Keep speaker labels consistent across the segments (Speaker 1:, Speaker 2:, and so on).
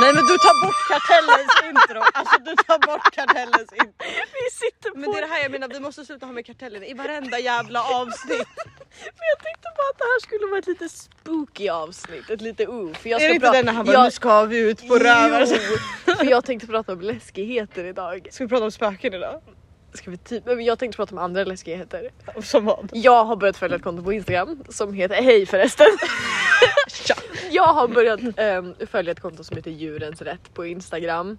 Speaker 1: Nej men du tar bort kartellens intro. Alltså du tar bort kartellens intro.
Speaker 2: Vi sitter på...
Speaker 1: Men det är det här jag menar, vi måste sluta ha med kartellen i varenda jävla avsnitt.
Speaker 2: Men jag tänkte bara att det här skulle vara ett lite spooky avsnitt, ett lite oh. För jag
Speaker 1: är det inte
Speaker 2: pra-
Speaker 1: den när han bara
Speaker 2: jag...
Speaker 1: nu ska vi ut på alltså?
Speaker 2: Jo,
Speaker 1: rövare?
Speaker 2: för jag tänkte prata om läskigheter idag.
Speaker 1: Ska vi prata om spöken idag?
Speaker 2: Ska vi typ... Men jag tänkte prata om andra läskigheter.
Speaker 1: Som vad?
Speaker 2: Jag har börjat följa ett konto på Instagram som heter Hej förresten.
Speaker 1: Tja.
Speaker 2: Jag har börjat ehm, följa ett konto som heter Djurens Rätt på Instagram.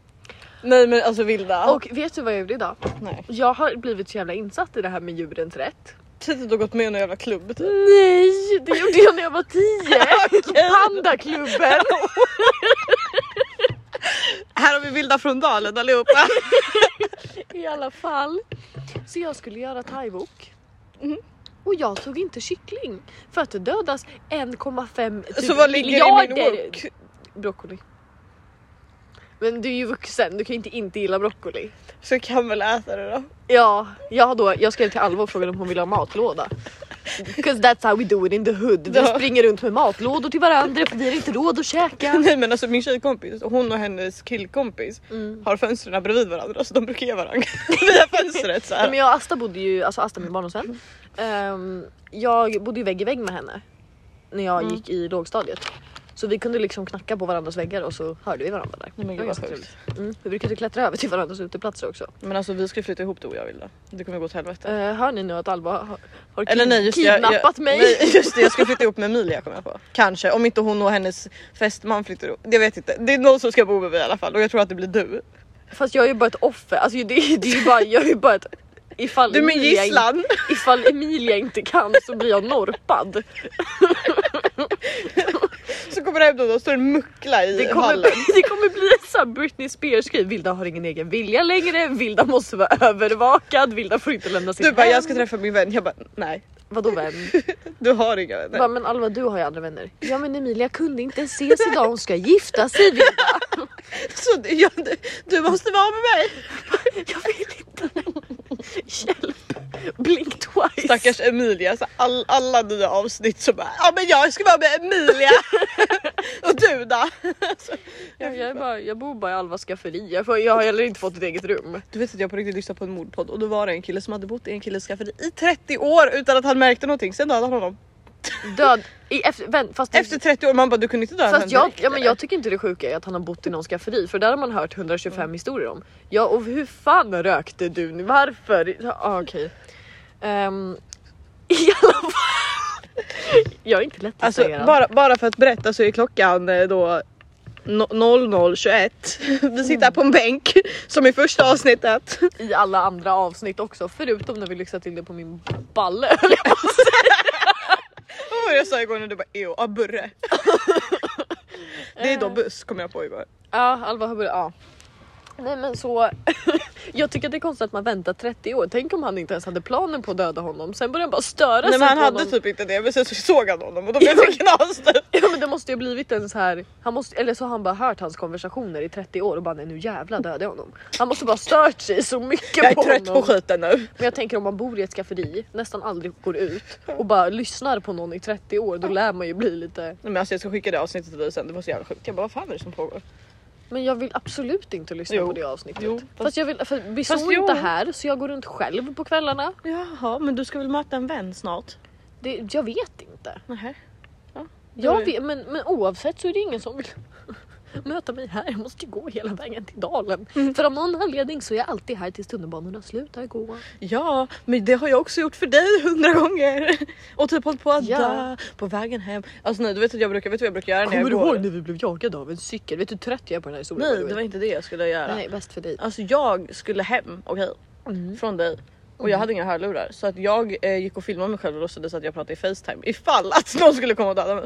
Speaker 1: Nej men alltså vilda.
Speaker 2: Och vet du vad jag gjorde idag?
Speaker 1: Nej.
Speaker 2: Jag har blivit så jävla insatt i det här med Djurens Rätt.
Speaker 1: Säg att du har gått med i någon jävla klubb typ.
Speaker 2: Nej, det gjorde jag när jag var tio. Pandaklubben.
Speaker 1: Här har vi vilda från dalen allihopa.
Speaker 2: I alla fall. Så jag skulle göra thaibok. Mm. Och jag tog inte kyckling. För att det dödas 1,5 typ
Speaker 1: Så vad ligger i min
Speaker 2: miljarder
Speaker 1: wok?
Speaker 2: broccoli. Men du är ju vuxen, du kan ju inte inte gilla broccoli.
Speaker 1: Så jag kan väl äta det då.
Speaker 2: Ja, jag, har då, jag skrev till Alva och frågade om hon ville ha matlåda. 'Cause that's how we do it in the hood. Vi
Speaker 1: Ja.
Speaker 2: springer runt med matlådor till varandra för vi har inte råd att käka.
Speaker 1: Nej men alltså min tjejkompis, hon och hennes killkompis
Speaker 2: Mm.
Speaker 1: har fönstren bredvid varandra så de brukar ge varandra via fönstret så
Speaker 2: Nej,
Speaker 1: här.
Speaker 2: men jag och Asta bodde ju, alltså Asta min barndomsvän. Ehm, jag bodde ju vägg i vägg med henne när jag
Speaker 1: Mm.
Speaker 2: gick i lågstadiet. Så vi kunde liksom knacka på varandras väggar och så hörde vi varandra där.
Speaker 1: Nej, men
Speaker 2: det
Speaker 1: gud, vad
Speaker 2: var ganska
Speaker 1: sjukt.
Speaker 2: trevligt. Mm. Vi brukade klättra över till varandras uteplatser också.
Speaker 1: Men alltså vi ska flytta ihop du och jag Vilda. Det kommer gå åt helvete.
Speaker 2: Uh, hör ni nu att Alba har, har
Speaker 1: Eller
Speaker 2: kid-
Speaker 1: nej just det, jag,
Speaker 2: kidnappat
Speaker 1: jag,
Speaker 2: mig?
Speaker 1: Nej, just det, jag ska flytta ihop med Emilia kommer jag på. Kanske om inte hon och hennes fästman flyttar ihop. Jag vet inte. Det är någon som ska bo med mig i alla fall och jag tror att det blir du.
Speaker 2: Fast jag är ju bara ett offer. Alltså, det, det är ju bara, jag är ju bara ett... Ifall
Speaker 1: Du är min
Speaker 2: Emilia in-
Speaker 1: gisslan.
Speaker 2: Ifall Emilia inte kan så blir jag norpad.
Speaker 1: Så kommer det hem då och då står en muckla i
Speaker 2: Det kommer,
Speaker 1: hallen.
Speaker 2: det kommer bli en sån här Britney Spears grej. Vilda har ingen egen vilja längre. Vilda måste vara övervakad. Vilda får inte lämna sitt
Speaker 1: Du bara
Speaker 2: hem.
Speaker 1: jag ska träffa min vän. Jag bara nej
Speaker 2: Vadå vän?
Speaker 1: du har inga
Speaker 2: Bara,
Speaker 1: vänner.
Speaker 2: men Alva du har ju andra vänner. Ja men Emilia kunde inte ens ses idag. Hon ska gifta sig Vilda.
Speaker 1: Så du, jag, du, du måste vara med mig.
Speaker 2: Jag vill inte. Hjälp. Blink twice.
Speaker 1: Stackars Emilia, så all, alla nya avsnitt så bara ja men jag ska vara med Emilia och du då?
Speaker 2: Jag, jag, är bara, jag bor bara i Alvas skafferi. Jag, får, jag har heller inte fått ett eget rum.
Speaker 1: Du vet att jag på riktigt lyssnade på en mordpodd och då var det en kille som hade bott i en killes skafferi i 30 år utan att han märkte någonting. Sen dödade han honom.
Speaker 2: Död. I, efter, vänt, fast
Speaker 1: Efter 30 år man bara du kunde inte döda
Speaker 2: Fast
Speaker 1: henne
Speaker 2: jag,
Speaker 1: direkt,
Speaker 2: ja, men
Speaker 1: eller?
Speaker 2: jag tycker inte det sjuka är att han har bott i någon skafferi för där har man hört 125
Speaker 1: Mm.
Speaker 2: historier om. Ja och hur fan rökte du nu? Varför? Ja, ah, Okej. Ehm, I alla fall. Jag är inte lätt att
Speaker 1: Alltså
Speaker 2: säga det.
Speaker 1: bara, bara för att berätta så är klockan eh, då no- 00.21. Vi sitter här på en bänk som i första avsnittet.
Speaker 2: I alla andra avsnitt också förutom när vi lyxade till det på min balle höll jag på att säga.
Speaker 1: Och jag sa igår när du bara ew, ah, burre. Eh. Det är då buss kom jag på igår.
Speaker 2: Ja Alva har börjat, ja. Nej men så. Jag tycker att det är konstigt att man väntar 30 år. Tänk om han inte ens hade planen på att döda honom. Sen började han bara störa
Speaker 1: Nej
Speaker 2: sig
Speaker 1: men han
Speaker 2: på honom.
Speaker 1: hade typ inte det men sen så såg han honom och då blev jag knas typ.
Speaker 2: Ja men det måste ju ha blivit en så här, han måste, eller så har han bara hört hans konversationer i 30 år och bara nej nu jävla dödar jag honom. Han måste bara ha stört sig så mycket
Speaker 1: Jag är
Speaker 2: på
Speaker 1: trött på
Speaker 2: honom.
Speaker 1: skiten nu.
Speaker 2: Men jag tänker om man bor i ett skafferi, nästan aldrig går ut och bara lyssnar på någon i 30 år då lär man ju bli lite.
Speaker 1: Nej, men alltså jag ska skicka det avsnittet till dig sen, det var så jävla sjukt. Jag bara vad fan är det som pågår?
Speaker 2: Men jag vill absolut inte lyssna
Speaker 1: Jo.
Speaker 2: på det avsnittet.
Speaker 1: Jo,
Speaker 2: fast,
Speaker 1: fast-
Speaker 2: jag vill, för vi
Speaker 1: fast
Speaker 2: såg
Speaker 1: jo.
Speaker 2: inte här så jag går runt själv på kvällarna.
Speaker 1: Jaha men du ska väl möta en vän snart?
Speaker 2: Det, jag vet inte.
Speaker 1: Nähä.
Speaker 2: Jag
Speaker 1: Nej.
Speaker 2: vet, men, men oavsett så är det ingen som vill möta mig här. Jag måste ju gå hela vägen till dalen. För av någon anledning så är jag alltid här tills tunnelbanorna slutar gå.
Speaker 1: Ja men det har jag också gjort för dig hundra gånger. Och typ hållit på att
Speaker 2: Ja.
Speaker 1: dö på vägen hem. Alltså nej du vet att jag brukar, vet du vad jag brukar göra när jag går?
Speaker 2: när vi blev jagade av en cykel? Vet du hur trött jag är på den här historien? by
Speaker 1: Nej
Speaker 2: the
Speaker 1: det var
Speaker 2: way?
Speaker 1: inte det jag skulle göra.
Speaker 2: Nej, bäst för dig.
Speaker 1: Alltså jag skulle hem, okej?
Speaker 2: Mm.
Speaker 1: Från dig. Och jag hade inga hörlurar så att jag eh, gick och filmade mig själv och låtsades att jag pratade i facetime ifall att någon skulle komma och döda mig.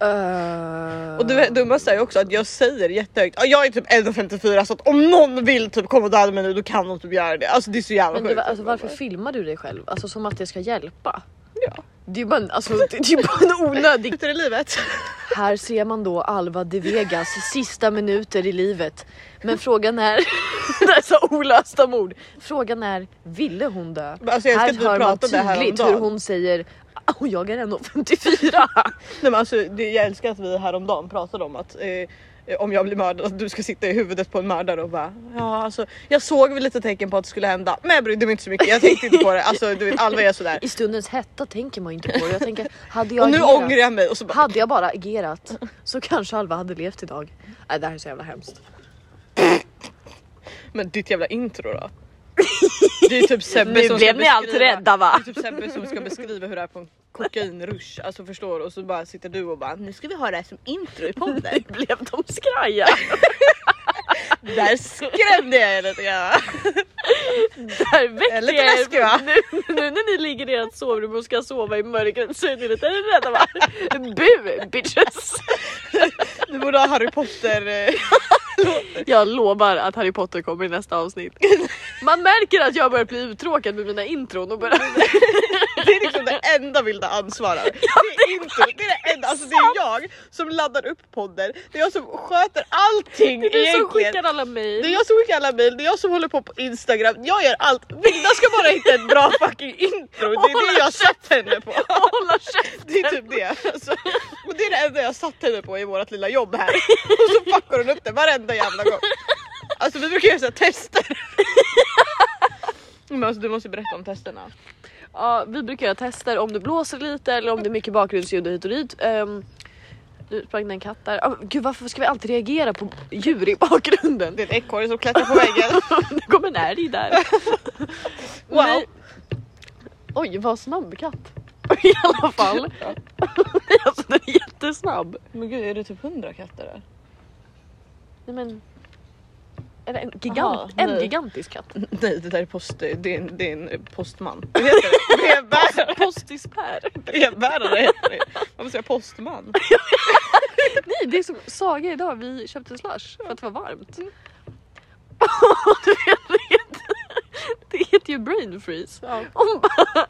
Speaker 2: Eh,
Speaker 1: Och det dummaste är ju också att jag säger jättehögt, "Ja, jag är typ 1,54 så att om någon vill typ komma och döda mig nu då kan de typ göra det. Alltså det är så jävla
Speaker 2: men
Speaker 1: sjukt.
Speaker 2: det var, alltså, varför filmar du dig själv? Alltså som att det ska hjälpa?
Speaker 1: Ja.
Speaker 2: Det är ju bara en, alltså, det, det är bara en onödig...
Speaker 1: Dikter i livet.
Speaker 2: Här ser man då Alva de Vegas sista minuter i livet. Men frågan är... Dessa olösta mord. Frågan är, ville hon dö?
Speaker 1: Alltså jag
Speaker 2: här
Speaker 1: älskar att vi
Speaker 2: hör man
Speaker 1: pratade om det här
Speaker 2: tydligt
Speaker 1: häromdagen.
Speaker 2: hur hon säger "Ah, och jag är 1,54.
Speaker 1: Nej, men alltså, det, jag älskar att vi häromdagen pratade om att eh, eh, om jag blir mördad att du ska sitta i huvudet på en mördare och bara ja alltså jag såg väl lite tecken på att det skulle hända men jag brydde mig inte så mycket. Jag tänkte inte på det. Alltså du vet Alva är sådär.
Speaker 2: I stundens hetta tänker man inte på det. Jag tänker, hade jag
Speaker 1: Och nu
Speaker 2: agerat,
Speaker 1: ångrar jag mig och så bara
Speaker 2: hade jag bara agerat så kanske Alva hade levt idag. Nej det här är så jävla hemskt.
Speaker 1: men ditt jävla intro då? Det är typ Sebbe som ska beskriva-
Speaker 2: va?
Speaker 1: Det är typ Sebbe som ska beskriva hur det är på en kokainrush, alltså förstår du? och så bara sitter du och bara nu ska vi ha det här som intro i podden.
Speaker 2: Nu blev de skraja.
Speaker 1: Där skrämde jag er lite grann.
Speaker 2: Där väckte
Speaker 1: Lite
Speaker 2: jag
Speaker 1: läskig, va?
Speaker 2: er. Nu, nu när ni ligger i ert sovrum och ska sova i mörkret så är ni lite rädda va? Bu bitches!
Speaker 1: Du borde ha Harry Potter eh,
Speaker 2: Jag lovar att Harry Potter kommer i nästa avsnitt. Man märker att jag börjar bli uttråkad med mina intron och börjar...
Speaker 1: Det är liksom det enda Vilda ansvarar. det är inte, det är det enda, alltså det är jag som laddar upp podden, det är jag som sköter allting
Speaker 2: Det är du som
Speaker 1: egentligen.
Speaker 2: skickar alla mejl.
Speaker 1: det är jag som skickar alla mejl, det är jag som håller på på Instagram, jag gör allt. Vilda ska bara hitta ett bra fucking intro, det är det jag satt henne på.
Speaker 2: Hålla käften!
Speaker 1: Det är typ det. Alltså, och det är det enda jag satt henne på i vårt lilla jobb här. Och så fuckar hon upp det varenda jävla gång. Alltså vi brukar göra så här tester. Men alltså, du måste berätta om testerna.
Speaker 2: Ja, vi brukar göra tester om det blåser lite eller om det är mycket bakgrundsljud och hit och dit. Ehm, nu sprang det en katt där. Ah, gud varför ska vi alltid reagera på djur i bakgrunden?
Speaker 1: Det är ett ekorre som klättrar på väggen.
Speaker 2: Nu kommer en älg där.
Speaker 1: Wow.
Speaker 2: Nej. Oj vad snabb katt. I alla fall. Nej, alltså den är jättesnabb.
Speaker 1: Men gud är det typ 100 katter där?
Speaker 2: Nej, men... Är det en, gigant,
Speaker 1: Aha,
Speaker 2: en
Speaker 1: nej.
Speaker 2: gigantisk katt?
Speaker 1: Nej det där är post, det är en, det är en postman. Vad heter det? Brevbärare.
Speaker 2: Postis Per.
Speaker 1: Brevbärare heter det. Varför säger jag postman?
Speaker 2: Nej det är som Saga idag, vi köpte slush för att det var varmt.
Speaker 1: Mm.
Speaker 2: Och du vet, det heter- det heter ju brain freeze.
Speaker 1: Ja.
Speaker 2: Hon bara...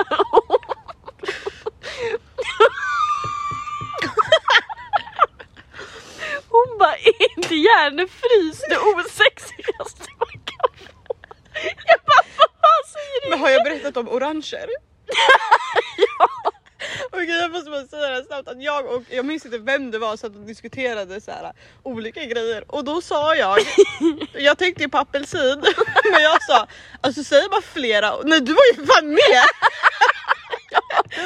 Speaker 2: Hon bara, är inte hjärnefrys det osexigaste man kan få? Jag bara, vad säger
Speaker 1: Men
Speaker 2: du?
Speaker 1: har jag berättat om oranger? Okej jag måste bara säga det här snabbt att jag och jag minns inte vem det var så att de diskuterade så här, äh, olika grejer och då sa jag, jag tänkte ju på apelsin men jag sa alltså säger man flera, nej du var ju fan med!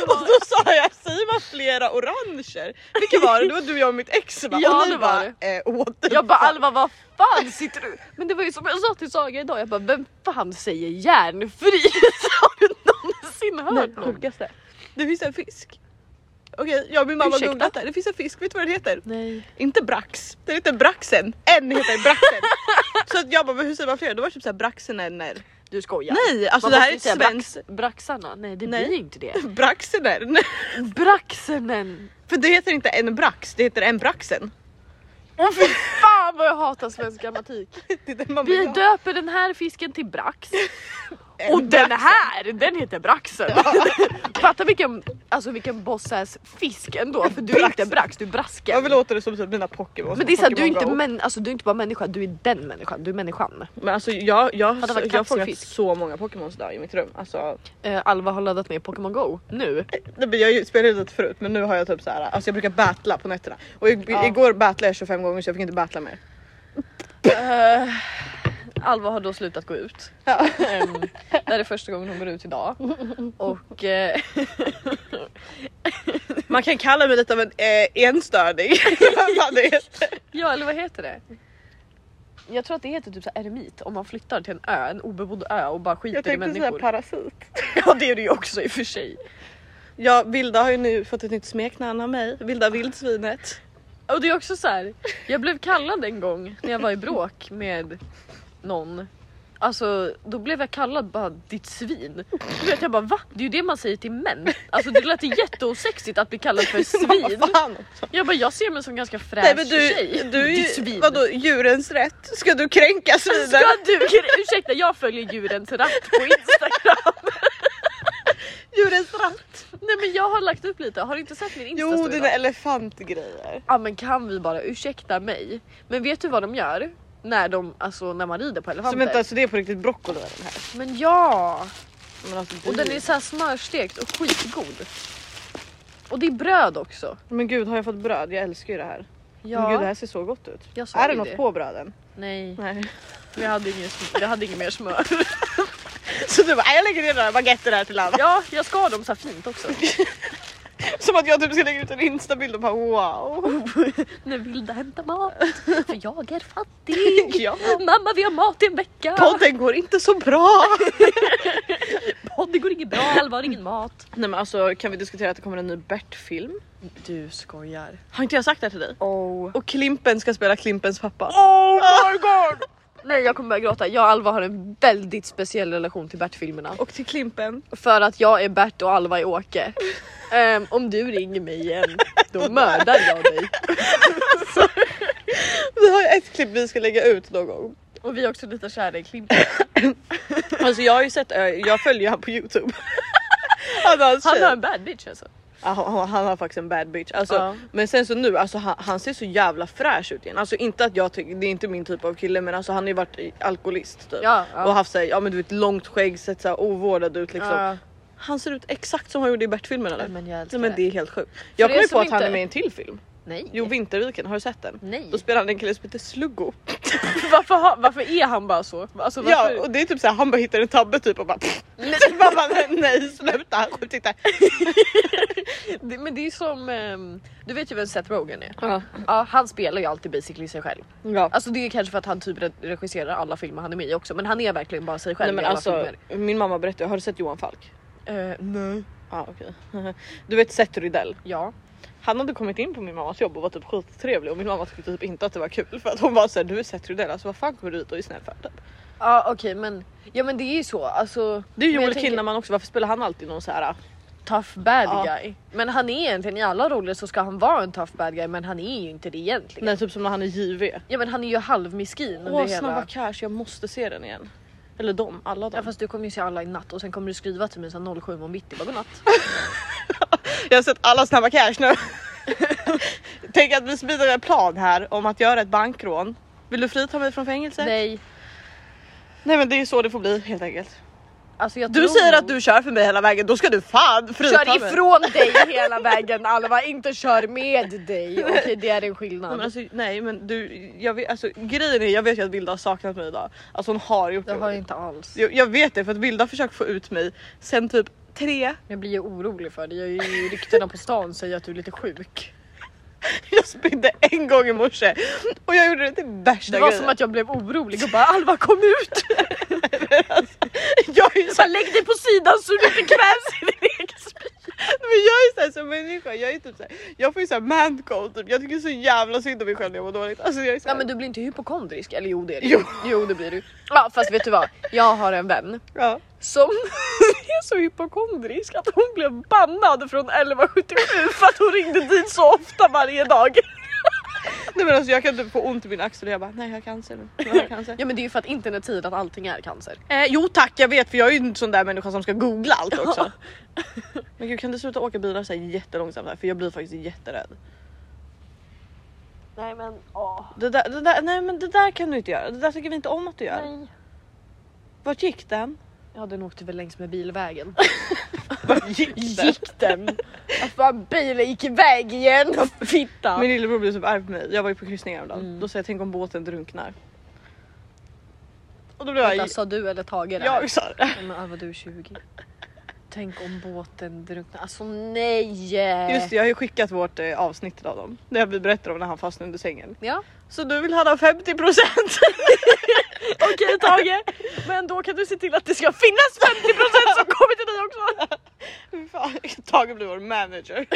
Speaker 1: Och då sa jag säger man flera oranger? Vilka var det? Det var du, jag och mitt ex va?
Speaker 2: Ja,
Speaker 1: och ni
Speaker 2: det var
Speaker 1: bara, eh, what the
Speaker 2: Jag bara
Speaker 1: fuck?"
Speaker 2: Alva vad fan sitter du? Men det var ju som jag sa till Saga idag, jag bara vem fan säger hjärnfrys? Har du någonsin hört
Speaker 1: Nej,
Speaker 2: någon?
Speaker 1: sjukaste. Det finns en fisk. Okej jag och min mamma har
Speaker 2: Ursäkta?
Speaker 1: googlat det här. det finns en fisk, vet du vad den heter?
Speaker 2: Nej.
Speaker 1: Inte brax, den heter braxen. En heter braxen. så att jag bara, men hur säger man fler? Då var det typ såhär braxener.
Speaker 2: Du skojar.
Speaker 1: Nej, alltså
Speaker 2: Man
Speaker 1: det här
Speaker 2: måste
Speaker 1: är
Speaker 2: ju
Speaker 1: ett
Speaker 2: säga
Speaker 1: svenskt...
Speaker 2: Brax, braxarna, nej det
Speaker 1: Nej.
Speaker 2: blir inte det.
Speaker 1: Braxener.
Speaker 2: Braxenen!
Speaker 1: För det heter inte en brax, det heter en braxen.
Speaker 2: Åh fy fan vad jag hatar svensk grammatik.
Speaker 1: Det är den man
Speaker 2: Vi
Speaker 1: vill ha.
Speaker 2: döper den här fisken till brax
Speaker 1: En
Speaker 2: och den
Speaker 1: brax.
Speaker 2: här den heter braxen. Fatta vilken, alltså vilken bossas fisk ändå för du är inte
Speaker 1: Braxen.
Speaker 2: brax, du är brasken.
Speaker 1: Jag vill låta det som typ mina Pokémon.
Speaker 2: Men det är såhär, du, är
Speaker 1: Pokémon
Speaker 2: inte
Speaker 1: Go.
Speaker 2: män- alltså, du är inte bara människa, du är den människan, du är människan.
Speaker 1: Men alltså jag, jag,
Speaker 2: Hade det varit
Speaker 1: jag har fångat
Speaker 2: kaxifisk?
Speaker 1: så många Pokémons idag i mitt rum. Alltså,
Speaker 2: Eh, Alva har laddat ner Pokémon Go nu.
Speaker 1: nej, men jag spelade lite förut men nu har jag typ såhär, alltså jag brukar battla på nätterna. Och i,
Speaker 2: Ja.
Speaker 1: igår battlade jag 25 gånger så jag fick inte battla mer.
Speaker 2: Eh, Alva har då slutat gå ut.
Speaker 1: Ja.
Speaker 2: Ehm, det här är första gången hon går ut idag. Och eh,
Speaker 1: Man kan kalla mig lite av en eh, enstöring. Vad fan det heter.
Speaker 2: ja, eller vad heter det? Jag tror att det heter typ så här eremit om man flyttar till en ö, en obebodd ö och bara
Speaker 1: Jag
Speaker 2: skiter i
Speaker 1: tänkte säga
Speaker 2: människor.
Speaker 1: parasit.
Speaker 2: ja det är det ju också i och för sig.
Speaker 1: Ja, Vilda har ju nu fått ett nytt smeknamn av mig. Vilda vildsvinet.
Speaker 2: Och det är också så här. jag blev kallad en gång när jag var i bråk med någon. Alltså då blev jag kallad bara ditt svin. Du vet jag bara va? Det är ju det man säger till män. Alltså det lät ju jätteosexigt att bli kallad för svin.
Speaker 1: Vad fan?
Speaker 2: Jag bara jag ser mig som ganska fräsch
Speaker 1: Nej men du,
Speaker 2: tjej.
Speaker 1: du är
Speaker 2: Ditt
Speaker 1: ju
Speaker 2: svin. Alltså,
Speaker 1: vadå, djurens rätt? Ska du kränka
Speaker 2: Ska
Speaker 1: svinen?
Speaker 2: du, ursäkta jag följer djurens ratt på instagram.
Speaker 1: Djurens rätt?
Speaker 2: Nej men jag har lagt upp lite, har du inte sett min instastory?
Speaker 1: Jo,
Speaker 2: idag?
Speaker 1: dina elefantgrejer.
Speaker 2: Ja men kan vi bara ursäkta mig. Men vet du vad de gör? När de, alltså när man rider på elefanter.
Speaker 1: Som inte alltså det är på riktigt broccoli den här.
Speaker 2: Men ja!
Speaker 1: Men alltså,
Speaker 2: Och
Speaker 1: det-
Speaker 2: den är så här smörstekt och skitgod. Och det är bröd också.
Speaker 1: Men gud har jag fått bröd? Jag älskar ju det här. Men
Speaker 2: Ja,
Speaker 1: gud det här ser så gott ut.
Speaker 2: jag sa
Speaker 1: Är det
Speaker 2: ju
Speaker 1: något på bröden?
Speaker 2: Nej,
Speaker 1: Nej.
Speaker 2: vi hade inget, vi hade inget mer smör.
Speaker 1: Så du bara, "Nej, jag lägger ner några baguetter här till alla.
Speaker 2: Ja, jag skar dem så här fint också.
Speaker 1: Som att jag typ ska lägga ut en instabild och bara wow.
Speaker 2: Nu vill du hämta mat, för jag är fattig.
Speaker 1: Ja.
Speaker 2: Mamma vi har mat i en vecka.
Speaker 1: Podden går inte så bra.
Speaker 2: Podd, det går inget bra, Alva har ingen mat.
Speaker 1: Nej men alltså kan vi diskutera att det kommer en ny Bert-film?
Speaker 2: Du skojar.
Speaker 1: Har inte jag sagt det här till dig?
Speaker 2: Oh.
Speaker 1: Och Klimpen ska spela Klimpens pappa.
Speaker 2: Oh my god! Nej jag kommer börja gråta. Jag och Alva har en väldigt speciell relation till Bert-filmerna.
Speaker 1: Och till Klimpen.
Speaker 2: För att jag är Bert och Alva är Åke. Ehm, om du ringer mig igen, då mördar jag dig.
Speaker 1: Vi har ju ett klipp vi ska lägga ut någon gång.
Speaker 2: Och vi är också lite kära i Klimpen.
Speaker 1: Alltså jag har ju sett, eh, jag följer ju han på youtube. Han har, en
Speaker 2: Han
Speaker 1: tjej.
Speaker 2: har en bad bitch alltså.
Speaker 1: Ja, han, han, han har faktiskt en bad bitch. Alltså,
Speaker 2: Ja.
Speaker 1: Men sen så nu, alltså, han, han ser så jävla fräsch ut igen. Alltså inte att jag tycker, det är inte min typ av kille men alltså han har ju varit i- alkoholist typ.
Speaker 2: Ja, ja.
Speaker 1: Och haft såhär, ja men du vet långt skägg, sett såhär ovårdad ut liksom.
Speaker 2: Ja.
Speaker 1: Han ser ut exakt som han gjorde i Bert-filmen eller?
Speaker 2: Nej, men jag älskar
Speaker 1: Nej men det
Speaker 2: det.
Speaker 1: är helt sjukt. Jag
Speaker 2: er
Speaker 1: kom ju
Speaker 2: som
Speaker 1: på att han
Speaker 2: inte-
Speaker 1: är med i en till film.
Speaker 2: Nej.
Speaker 1: Jo Vinterviken, har du sett den?
Speaker 2: Nej.
Speaker 1: Då spelar han en kille som heter Sluggo.
Speaker 2: varför, har- varför är han bara så? Alltså, varför?
Speaker 1: Ja och det är typ såhär han bara hittar en tabbe typ och bara Man bara nej, nej sluta, skjut inte.
Speaker 2: Det, men det är som, ehm, du vet ju vem Seth Rogen är? Ja, han spelar ju alltid basically sig själv.
Speaker 1: Ja.
Speaker 2: Alltså det är kanske för att han typ re- regisserar alla filmer han är med i också men han är verkligen bara sig själv
Speaker 1: Nej, men
Speaker 2: i alla
Speaker 1: alltså,
Speaker 2: filmer.
Speaker 1: min mamma berättade, har du sett Johan Falk?
Speaker 2: Eh, nej.
Speaker 1: Ja Ah, okej. Du vet Seth Rydell?
Speaker 2: Ja.
Speaker 1: Han hade kommit in på min mammas jobb och var typ skittrevlig och min mamma tyckte typ inte att det var kul för att hon var såhär du är Seth Rydell alltså vad fan kommer du hit och är snäll för? Typ.
Speaker 2: Ja okej men, ja men det är ju så alltså.
Speaker 1: Det är ju
Speaker 2: men jag
Speaker 1: Joel
Speaker 2: tänker,
Speaker 1: Kinnaman också varför spelar han alltid någon ah, såhär
Speaker 2: Tough bad
Speaker 1: Ja.
Speaker 2: guy. Men han är egentligen i alla roller så ska han vara en tough bad guy men han är ju inte det egentligen.
Speaker 1: nej typ som när han är JW.
Speaker 2: Ja men han är ju halvmiskin under
Speaker 1: Åh
Speaker 2: hela.
Speaker 1: snabba cash jag måste se den igen. Eller dem, alla dem.
Speaker 2: Ja fast du kommer ju se alla i natt och sen kommer du skriva till mig så här 07 om bitti bara godnatt.
Speaker 1: Jag har sett alla Snabba Cash nu. Tänk att vi smider en plan här om att göra ett bankrån. Vill du frita mig från fängelse?
Speaker 2: Nej.
Speaker 1: Nej men det är så det får bli helt enkelt.
Speaker 2: Alltså jag
Speaker 1: Du
Speaker 2: tror
Speaker 1: säger
Speaker 2: nog-
Speaker 1: att du kör för mig hela vägen, då ska du fan frita
Speaker 2: Kör
Speaker 1: mig.
Speaker 2: ifrån dig hela vägen Alva, inte kör med dig. Okej det är en
Speaker 1: Nej, men
Speaker 2: skillnad.
Speaker 1: alltså, nej men du, jag vet, alltså, grejen är jag vet ju att Vilda har saknat mig idag. Alltså hon har gjort
Speaker 2: Det
Speaker 1: det.
Speaker 2: har jag inte alls.
Speaker 1: Jag, jag vet det för att Vilda har försökt få ut mig sen typ tre.
Speaker 2: Jag blir ju orolig för dig. Jag är ju ryktena på stan säger att du är lite sjuk.
Speaker 1: Jag spydde en gång i morse och jag gjorde det till värsta
Speaker 2: Det var
Speaker 1: grejen.
Speaker 2: som att jag blev orolig och bara Alva kom ut!
Speaker 1: jag är ju så
Speaker 2: Bara, Lägg dig på sidan så du inte kvävs i din egen spy.
Speaker 1: Men jag är såhär som människa, jag är typ såhär, jag får ju såhär mancold typ. Jag tycker så jävla synd om mig själv när jag mår dåligt. Alltså jag är
Speaker 2: Ja
Speaker 1: såhär,
Speaker 2: men du blir inte hypokondrisk, eller jo det är du.
Speaker 1: Jo.
Speaker 2: jo det blir du. Ja fast vet du vad, jag har en vän
Speaker 1: ja.
Speaker 2: som är så hypokondrisk att hon blev bannad från 1177 för att hon ringde dit så ofta varje dag.
Speaker 1: Nej men alltså jag kan typ få ont i min axel och jag bara nej jag har cancer nu. Jag har cancer.
Speaker 2: Ja men det är ju för att internet säger att allting är cancer.
Speaker 1: eh, jo tack jag vet för jag är ju en sån där människa som ska googla allt också. men gud kan du sluta åka bilar såhär jättelångsamt här för jag blir faktiskt jätterädd.
Speaker 2: Nej men åh.
Speaker 1: Det där, det där, nej men det där kan du inte göra, det där tycker vi inte om att du gör.
Speaker 2: Nej.
Speaker 1: Vart gick den?
Speaker 2: Ja den åkte väl typ längs med bilvägen.
Speaker 1: Vart gick den?
Speaker 2: Gick den? Fan bilen gick iväg igen! Fitta!
Speaker 1: Min lillebror blev typ arg på mig, jag var ju på kryssning häromdagen.
Speaker 2: Mm.
Speaker 1: Då sa jag tänk om båten drunknar. Och då blev jag
Speaker 2: Vänta, sa du eller Tage det här?
Speaker 1: Jag sa det.
Speaker 2: Nej, Men Alva du är 20. Tänk om båten drunknar. Alltså nej!
Speaker 1: Just det, jag har ju skickat vårt eh, avsnitt av dem. Där vi berättar om när han fastnade under sängen.
Speaker 2: Ja
Speaker 1: Så du vill ha 50 procent?
Speaker 2: okej Tage. Men då kan du se till att det ska finnas 50% som kommer till dig också.
Speaker 1: Tage blir vår manager.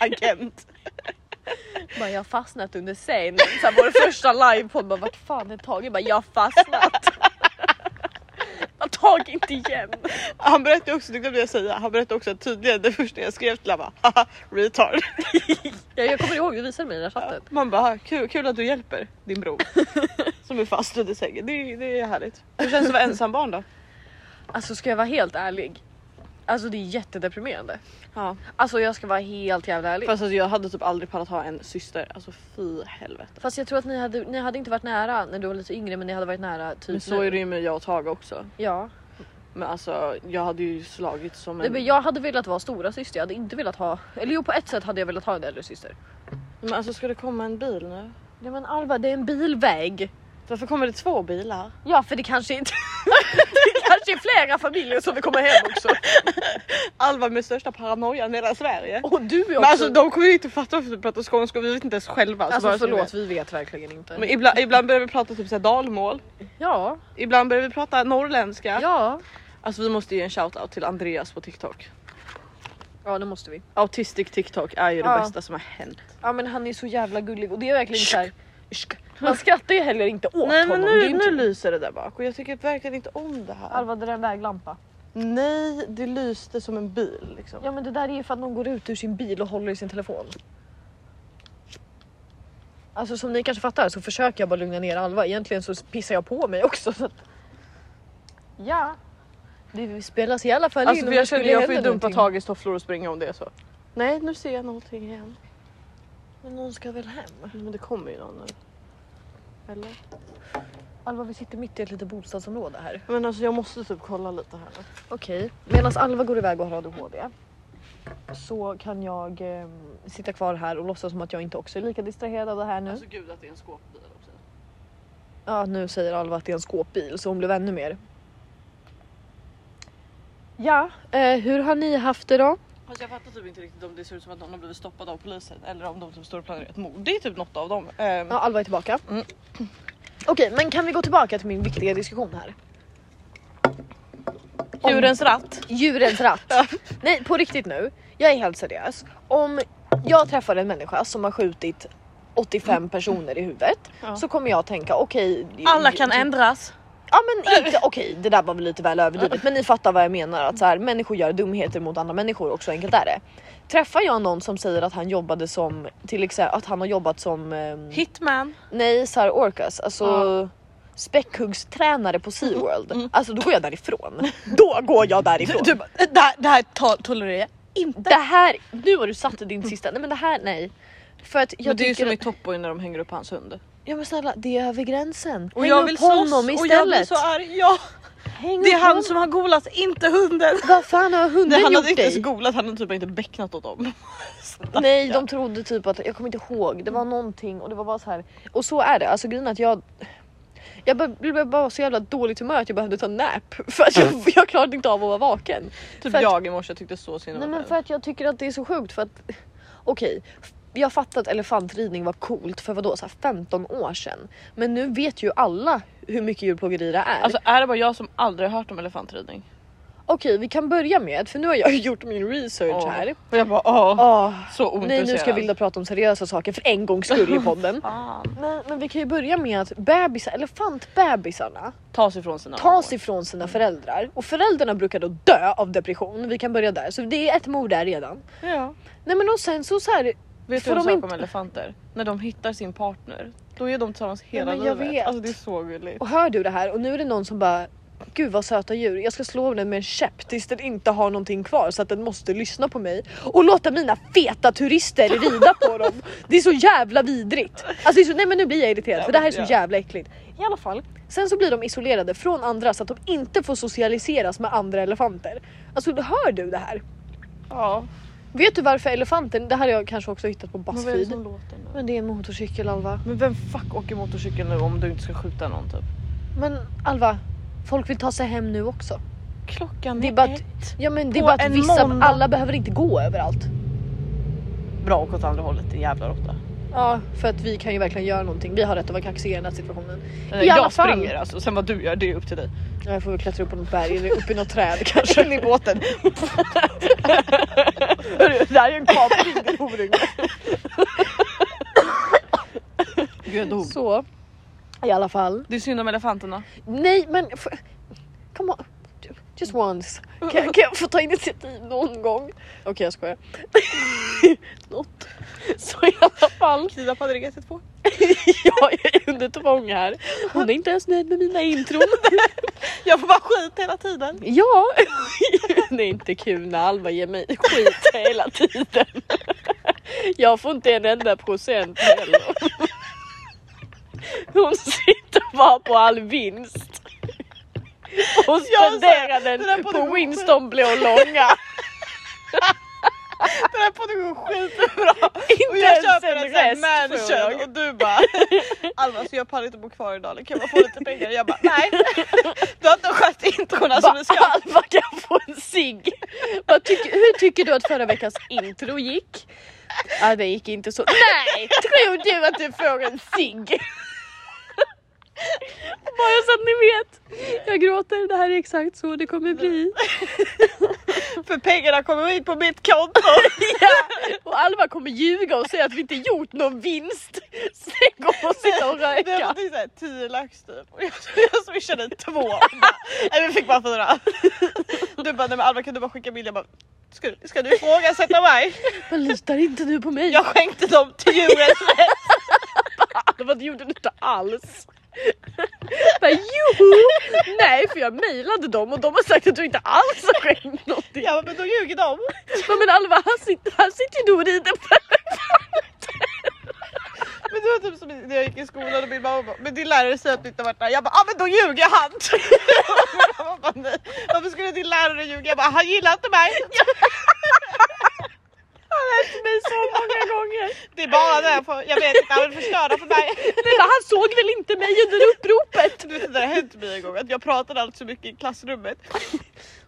Speaker 1: Agent.
Speaker 2: Bara jag har fastnat under sängen. Så här, vår första livepodd bara vart fan är Tage? Bara jag har fastnat. Jag har Tage inte igen.
Speaker 1: Han berättade också, det glömde jag säga, han berättade också att tydligen det första jag skrev till honom var haha retard.
Speaker 2: Jag, jag kommer ihåg du visade mig den här chatten.
Speaker 1: Man bara kul, kul att du hjälper din bror som är fast under sängen. Det, är- det är härligt. Hur känns det att vara ensam barn då?
Speaker 2: Alltså ska jag vara helt ärlig. Alltså det är jättedeprimerande.
Speaker 1: Ja.
Speaker 2: Alltså jag ska vara helt jävla ärlig.
Speaker 1: Fast alltså, jag hade typ aldrig pallat ha en syster. Alltså fy helvete.
Speaker 2: Fast jag tror att ni hade, ni hade inte varit nära när du var lite yngre men ni hade varit nära typ
Speaker 1: Men så
Speaker 2: nu.
Speaker 1: är det ju med jag och Tage också.
Speaker 2: Ja.
Speaker 1: Men alltså jag hade ju slagit som
Speaker 2: Nej,
Speaker 1: en...
Speaker 2: men jag hade velat vara stora syster. jag hade inte velat ha... Eller jo på ett sätt hade jag velat ha en äldre syster.
Speaker 1: Men alltså ska det komma en bil nu?
Speaker 2: Nej men Alva det är en bilväg.
Speaker 1: Varför kommer det två bilar?
Speaker 2: Ja för det kanske inte... det kanske är flera familjer som vill komma hem också.
Speaker 1: Alva med största paranoian i hela Sverige.
Speaker 2: Och du är också...
Speaker 1: men alltså de kommer ju inte fatta varför vi pratar skånska och vi vet inte ens själva. så bara
Speaker 2: alltså
Speaker 1: så ni
Speaker 2: förlåt
Speaker 1: vet.
Speaker 2: vi vet verkligen inte.
Speaker 1: Men ibland, ibland börjar vi prata typ så här dalmål.
Speaker 2: Ja,
Speaker 1: Ibland börjar vi prata norrländska.
Speaker 2: ja.
Speaker 1: Alltså vi måste ge en shoutout till Andreas på TikTok.
Speaker 2: Ja det måste vi.
Speaker 1: Autistic TikTok är ju det
Speaker 2: Ja.
Speaker 1: bästa som har hänt.
Speaker 2: Ja men han är så jävla gullig och det är verkligen så här. Man skrattar ju heller inte åt
Speaker 1: Nej men
Speaker 2: honom. det är
Speaker 1: nu,
Speaker 2: inte...
Speaker 1: nu lyser det där bak och jag tycker verkligen inte om det här.
Speaker 2: Alva det där är en väglampa.
Speaker 1: Nej, det lyste som en bil liksom.
Speaker 2: Ja men det där är ju för att någon går ut ur sin bil och håller i sin telefon. Alltså som ni kanske fattar så försöker jag bara lugna ner Alva. Egentligen så pissar jag på mig också. Så att... Ja. Det spelas i alla fall
Speaker 1: Alltså
Speaker 2: in
Speaker 1: för
Speaker 2: om
Speaker 1: jag
Speaker 2: det skulle
Speaker 1: känner jag får ju
Speaker 2: hända
Speaker 1: dumpa
Speaker 2: någonting.
Speaker 1: Tages tofflor och springa om det är så. Nej nu ser jag någonting igen.
Speaker 2: Men någon ska väl hem?
Speaker 1: Men det kommer ju någon nu. Eller?
Speaker 2: Alva vi sitter mitt i ett litet bostadsområde här.
Speaker 1: Men alltså jag måste typ kolla lite här. nu.
Speaker 2: Okej, medan Alva går iväg och har ADHD så kan jag eh, sitta kvar här och låtsas som att jag inte också är lika distraherad av det här nu.
Speaker 1: Alltså gud att det är en skåpbil också.
Speaker 2: Ja, nu säger Alva att det är en skåpbil så hon blev ännu mer. Ja, eh, hur har ni haft det då?
Speaker 1: Fast jag fattar typ inte riktigt om det ser ut som att någon har blivit stoppad av polisen eller om de typ står och planerar ett mord. Det är typ något av dem. Ehm,
Speaker 2: Ja, Alva är tillbaka.
Speaker 1: Mm.
Speaker 2: Okej, men kan vi gå tillbaka till min viktiga diskussion här?
Speaker 1: Djurens ratt.
Speaker 2: Djurens ratt. Nej, på riktigt nu. Jag är helt seriös. Om jag träffar en människa som har skjutit 85 personer i huvudet
Speaker 1: Mm. Ja.
Speaker 2: så kommer jag tänka okej.
Speaker 1: Alla
Speaker 2: typ.
Speaker 1: kan ändras.
Speaker 2: Ja men inte okej, det där var väl lite väl överdrivet, men ni fattar vad jag menar att så här, människor gör dumheter mot andra människor och så enkelt är det. Träffar jag någon som säger att han jobbade som till exempel att han har jobbat som ehm,
Speaker 1: Hitman.
Speaker 2: nej, så här orcas, alltså späckhuggstränare på
Speaker 1: Mm-hmm.
Speaker 2: SeaWorld. Alltså då går jag därifrån. Då går jag därifrån.
Speaker 1: Du, bara, det, här, det här to- tolererar jag inte.
Speaker 2: Det här, nu har du satt din sista, nej men det här nej. För att jag
Speaker 1: Mm. men det är ju
Speaker 2: tycker
Speaker 1: som i
Speaker 2: att,
Speaker 1: Topboy när de hänger upp hans hund.
Speaker 2: ja men snälla det är över gränsen.
Speaker 1: Och
Speaker 2: Häng
Speaker 1: jag
Speaker 2: upp
Speaker 1: vill
Speaker 2: honom
Speaker 1: slåss och jag blir
Speaker 2: istället.
Speaker 1: så arg. Ja,
Speaker 2: Häng
Speaker 1: det är
Speaker 2: upp
Speaker 1: han
Speaker 2: honom.
Speaker 1: som har golat, inte hunden.
Speaker 2: Vad fan har hunden
Speaker 1: Nej, han
Speaker 2: gjort
Speaker 1: hade inte
Speaker 2: dig?
Speaker 1: ens golat, han hade typ inte bäcknat åt dem.
Speaker 2: Nej de trodde typ att, jag kommer inte ihåg, det var någonting och det var bara så här. Och så är det, alltså grejen är att jag jag bara- blev bara så jävla dåligt humör att jag behövde ta nap för att jag, jag klarade inte av att vara vaken.
Speaker 1: Typ
Speaker 2: För att-
Speaker 1: jag i morse tyckte så synd
Speaker 2: Nej
Speaker 1: om
Speaker 2: men
Speaker 1: mig.
Speaker 2: för att jag tycker att det är så sjukt för att okej, f- jag fattar att elefantridning var coolt för vadå så här 15 år sedan. Men nu vet ju alla hur mycket djurplågeri det är.
Speaker 1: Alltså är det bara jag som aldrig har hört om elefantridning?
Speaker 2: okej, vi kan börja med för nu har jag ju gjort min research
Speaker 1: Åh.
Speaker 2: här.
Speaker 1: Och jag bara åh,
Speaker 2: Åh,
Speaker 1: så
Speaker 2: nej
Speaker 1: ointresserad.
Speaker 2: nu ska Vilda prata om seriösa saker för en gångs skull i podden.
Speaker 1: Fan.
Speaker 2: Men, men vi kan ju börja med att bebisar, elefantbebisarna
Speaker 1: Tas ifrån sina
Speaker 2: tas
Speaker 1: mammor.
Speaker 2: ifrån sina föräldrar och föräldrarna brukar då dö av depression. Vi kan börja där, så det är ett mord där redan.
Speaker 1: Ja.
Speaker 2: Nej men och sen så, så här,
Speaker 1: Vet
Speaker 2: För
Speaker 1: du en
Speaker 2: de
Speaker 1: sak
Speaker 2: inte-
Speaker 1: om elefanter? När de hittar sin partner, då är de tillsammans hela
Speaker 2: men jag
Speaker 1: livet.
Speaker 2: vet.
Speaker 1: Alltså det är så gulligt.
Speaker 2: och hör du det här och nu är det någon som bara Gud vad söta djur, jag ska slå den med en käpp tills den inte har någonting kvar så att den måste lyssna på mig och låta mina feta turister rida på dem. Det är så jävla vidrigt. Alltså det är så, nej men nu blir jag irriterad för det här är så
Speaker 1: Ja.
Speaker 2: jävla äckligt. I alla fall, sen så blir de isolerade från andra så att de inte får socialiseras med andra elefanter. Alltså hör du det här?
Speaker 1: Ja.
Speaker 2: Vet du varför elefanten, det här har jag kanske också hittat på
Speaker 1: Men vad är det
Speaker 2: Buzzfeed.
Speaker 1: som låter nu?
Speaker 2: Men det är en motorcykel Alva.
Speaker 1: Men vem fuck åker motorcykel nu om du inte ska skjuta någon typ?
Speaker 2: Men Alva, folk vill ta sig hem nu också.
Speaker 1: Klockan
Speaker 2: Det är
Speaker 1: är
Speaker 2: bara att-
Speaker 1: ett.
Speaker 2: Ja men det är
Speaker 1: På
Speaker 2: bara att
Speaker 1: en
Speaker 2: vissa,
Speaker 1: måndag.
Speaker 2: alla behöver inte gå överallt.
Speaker 1: Bra och åt andra hållet din jävla råtta.
Speaker 2: Ja, för att vi kan ju verkligen göra någonting. Vi har rätt att vara kaxiga i den här situationen.
Speaker 1: Nej,
Speaker 2: I alla
Speaker 1: Jag
Speaker 2: fall.
Speaker 1: springer alltså, sen vad du gör det är upp till dig.
Speaker 2: Ja, Jag får väl klättra upp på något berg eller upp i något träd kanske.
Speaker 1: In i båten.
Speaker 2: Hörru, det här är ju en kapning din horunge.
Speaker 1: Gud jag dog.
Speaker 2: Så, i alla fall.
Speaker 1: Det är synd om elefanterna.
Speaker 2: Nej men, f- come on. Just once. Kan, kan jag få ta initiativ någon gång? Okej jag skojar. Något. Så i alla fall.
Speaker 1: Frida på hade det på.
Speaker 2: Jag är under tvång här. Hon är inte ens nöjd med mina intron.
Speaker 1: Jag får bara skit hela tiden.
Speaker 2: Ja, det är inte kul när Alva ger mig skit hela tiden. Jag får inte en enda procent heller. Hon sitter bara på all vinst. och
Speaker 1: Jag sa-
Speaker 2: spendera den
Speaker 1: den där
Speaker 2: på,
Speaker 1: podden-
Speaker 2: Winston blå långa.
Speaker 1: Den här podden går skitbra! Och
Speaker 2: Inte
Speaker 1: jag
Speaker 2: ens
Speaker 1: köper
Speaker 2: en
Speaker 1: en sån här
Speaker 2: rest får jag.
Speaker 1: mansion och du bara Alma alltså jag pallar inte bo kvar idag, kan man få lite pengar? Jag bara nej! Du har inte skött introna som du
Speaker 2: Bara,
Speaker 1: ska!
Speaker 2: Alva kan få en cigg. Alltså, Vad tycker- Hur tycker du att förra veckans intro gick? Ja det gick inte så. Nej! Tror du att du får en cigg? Bara så att ni vet. Jag gråter, det här är exakt så det kommer bli.
Speaker 1: För pengarna kommer in på mitt konto!
Speaker 2: Ja. Och Alva kommer ljuga och säga att vi inte gjort någon vinst. Sen kommer hon sitta och
Speaker 1: Det var
Speaker 2: röka.
Speaker 1: någonting såhär 10 lax typ och jag, jag swishade två. Och bara, Nej vi fick bara fyra. Du bara nej men Alma kan du bara skicka bild? Jag bara ska, du- ska du ifrågasätta mig?
Speaker 2: Vad litar inte du på mig?
Speaker 1: Jag skänkte dem till djuret.
Speaker 2: Alva det gjorde du inte alls. Bara, joho! Nej för jag mejlade dem och de har sagt att du inte alls har skänkt någonting.
Speaker 1: Jag bara men då ljuger de.
Speaker 2: Men, men Alva han sitter, han sitter ju då och rider på
Speaker 1: Men det var typ som när jag gick i skolan och min mamma bara, men din lärare säger att du inte har varit där. Jag bara, ah, men då ljuger han! Min mamma bara, "Nej, Varför skulle din lärare ljuga? Jag bara, han gillar inte mig.
Speaker 2: mig så många gånger.
Speaker 1: Det är bara det jag får, jag vet inte, han vill förstöra för mig.
Speaker 2: Nej, men han såg väl inte mig under uppropet?
Speaker 1: Du vet det har hänt mig en gång att jag pratade allt så mycket i klassrummet.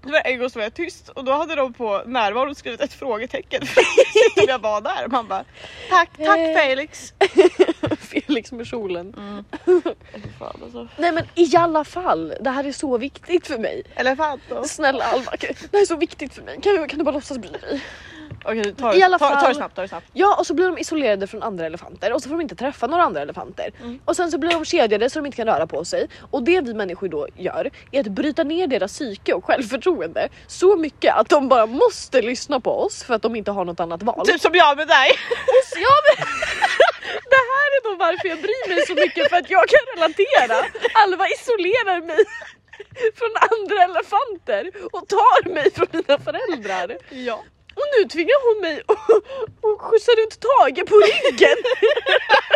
Speaker 1: Det var en gång som jag var tyst och då hade de på närvaron skrivit ett frågetecken för att se om jag var där. Man bara, tack, tack
Speaker 2: Eh.
Speaker 1: Felix.
Speaker 2: Felix med liksom kjolen.
Speaker 1: Fan, alltså.
Speaker 2: Nej men i alla fall, det här är så viktigt för mig.
Speaker 1: Elefant då.
Speaker 2: Snälla Alva, kan- det här är så viktigt för mig. Kan, kan du bara låtsas bry dig?
Speaker 1: Okej, ta
Speaker 2: I
Speaker 1: det-
Speaker 2: alla
Speaker 1: ta- ta det
Speaker 2: fall-
Speaker 1: snabbt, ta det snabbt.
Speaker 2: Ja och så blir de isolerade från andra elefanter och så får de inte träffa några andra elefanter. Och sen så blir de kedjade så de inte kan röra på sig. Och det vi människor då gör är att bryta ner deras psyke och självförtroende så mycket att de bara måste lyssna på oss för att de inte har något annat val.
Speaker 1: Typ som jag med dig.
Speaker 2: Så jag, det här är då varför jag bryr mig så mycket för att jag kan relatera. Alva isolerar mig från andra elefanter och tar mig från mina föräldrar.
Speaker 1: Ja.
Speaker 2: Och nu tvingar hon mig och, och skjutsa runt Tage på ryggen.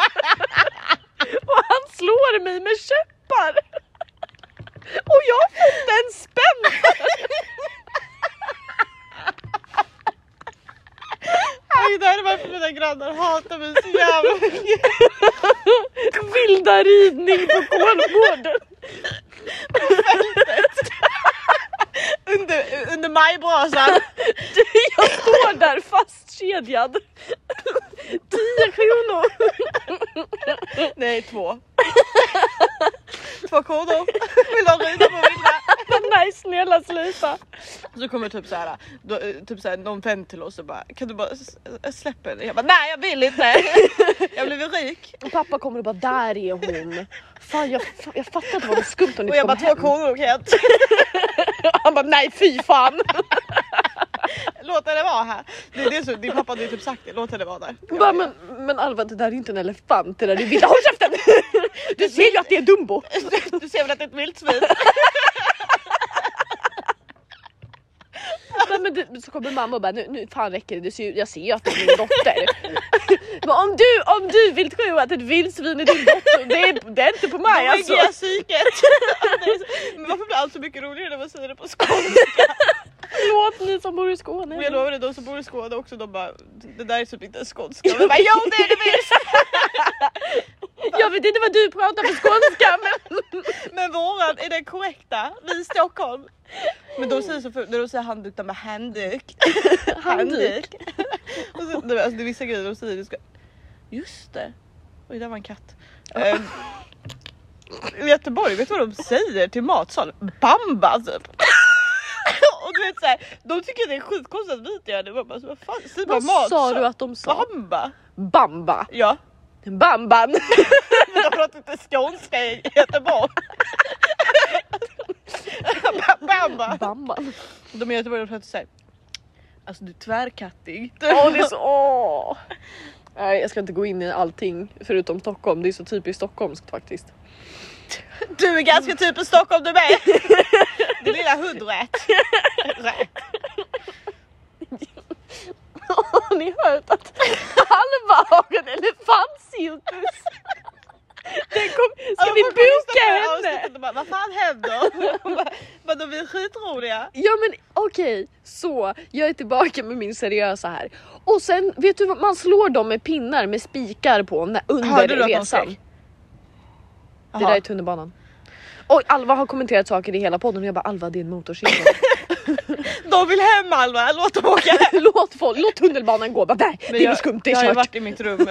Speaker 2: och han slår mig med käppar. Och jag får inte en spänn.
Speaker 1: Aj, det här är varför mina grannar hatar mig så jävla mycket.
Speaker 2: Vilda ridning på Kolmården.
Speaker 1: Under, under majbrasan.
Speaker 2: Jag står där fastkedjad. 10 kronor.
Speaker 1: Nej, två. Två kronor. Vill du rida på vilda?
Speaker 2: Nej snälla sluta.
Speaker 1: Så kommer typ såhär, då, eh, typ såhär någon vän till oss och bara kan du bara s- s- släppa henne? Jag bara nej jag vill inte. Jag blev rik.
Speaker 2: Och pappa kommer och bara där är hon. Fan jag, fa- jag fattar inte vad det var skumt hon
Speaker 1: Och
Speaker 2: inte
Speaker 1: jag bara
Speaker 2: kom
Speaker 1: två
Speaker 2: hem.
Speaker 1: kronor kan jag
Speaker 2: Han bara nej fy fan.
Speaker 1: låt henne vara här. Det är det som, din pappa hade ju typ sagt det, låt henne vara där. Jag bara,
Speaker 2: Bara, men, men Alva det där är inte en elefant, det där är vilda. Håll käften! Du ser ju att det är Dumbo!
Speaker 1: Du ser väl att det är ett vildsvin?
Speaker 2: Nej, men du, så kommer mamma och bara nu, nu fan räcker det, du ser, ju- jag ser ju att det är min dotter. men om du, om du vill tro att ett vildsvin är din dotter, det är, det är inte på mig
Speaker 1: Nej,
Speaker 2: alltså.
Speaker 1: alltså. Jag psyket. Men varför blir allt så mycket roligare när man säger det på skånska?
Speaker 2: Förlåt ni som bor i Skåne.
Speaker 1: Och jag lovar dig, de som bor i Skåne också, de bara det där är typ inte ens skånska. Och jag bara jo det är det visst!
Speaker 2: Jag vet inte vad du pratar på skånska men
Speaker 1: Men våran är den korrekta, vi i Stockholm. Men de säger så för, när de säger handduk, de bara handduk.
Speaker 2: handduk.
Speaker 1: Och så, det, alltså, det är vissa grejer de säger, du ska... just det. Oj där var en katt. Eh, I Göteborg, vet du vad de säger till matsal? Bamba typ. Och du vet såhär, de tycker det är skitkonstigt att vi inte gör det. Man Bara, så, vad fan, säg bara
Speaker 2: Vad
Speaker 1: matsal.
Speaker 2: sa du att de sa?
Speaker 1: Bamba.
Speaker 2: Bamba.
Speaker 1: Ja,
Speaker 2: Bamban.
Speaker 1: men de pratar inte skånska i Göteborg. Bamba.
Speaker 2: Bamban.
Speaker 1: De i Göteborg de pratar såhär. Alltså du är tvärkattig.
Speaker 2: Åh det är så... Åh. Nej jag ska inte gå in i allting förutom Stockholm, det är så typiskt stockholmskt faktiskt.
Speaker 1: Du är ganska typ i Stockholm du med. Det lilla hundrät. Rät.
Speaker 2: Har ni hört att Alva har en elefantcirkus? Den
Speaker 3: kom, ska
Speaker 1: Ja,
Speaker 3: vi
Speaker 1: folk har lyssnat på
Speaker 3: boka
Speaker 1: det här
Speaker 3: henne?
Speaker 1: avsnittet och bara, Vad fan händer? Och bara, Vadå vi är skitroliga.
Speaker 2: Ja men okej, så jag är tillbaka med min seriösa här. Och sen vet du vad, man slår dem med pinnar med spikar på när, under
Speaker 1: Hörde du att de
Speaker 2: resan.
Speaker 1: skrek?
Speaker 2: Det där är tunnelbanan. Och Alva har kommenterat saker i hela podden och jag bara Alva det är en motorcykel.
Speaker 1: De vill hem Alva, låt dem åka hem.
Speaker 2: låt, folk, låt tunnelbanan gå, bara, nej det är
Speaker 1: jag,
Speaker 2: väl skumt, det
Speaker 1: jag har
Speaker 2: är
Speaker 1: ju
Speaker 2: kört.
Speaker 1: varit i mitt rum.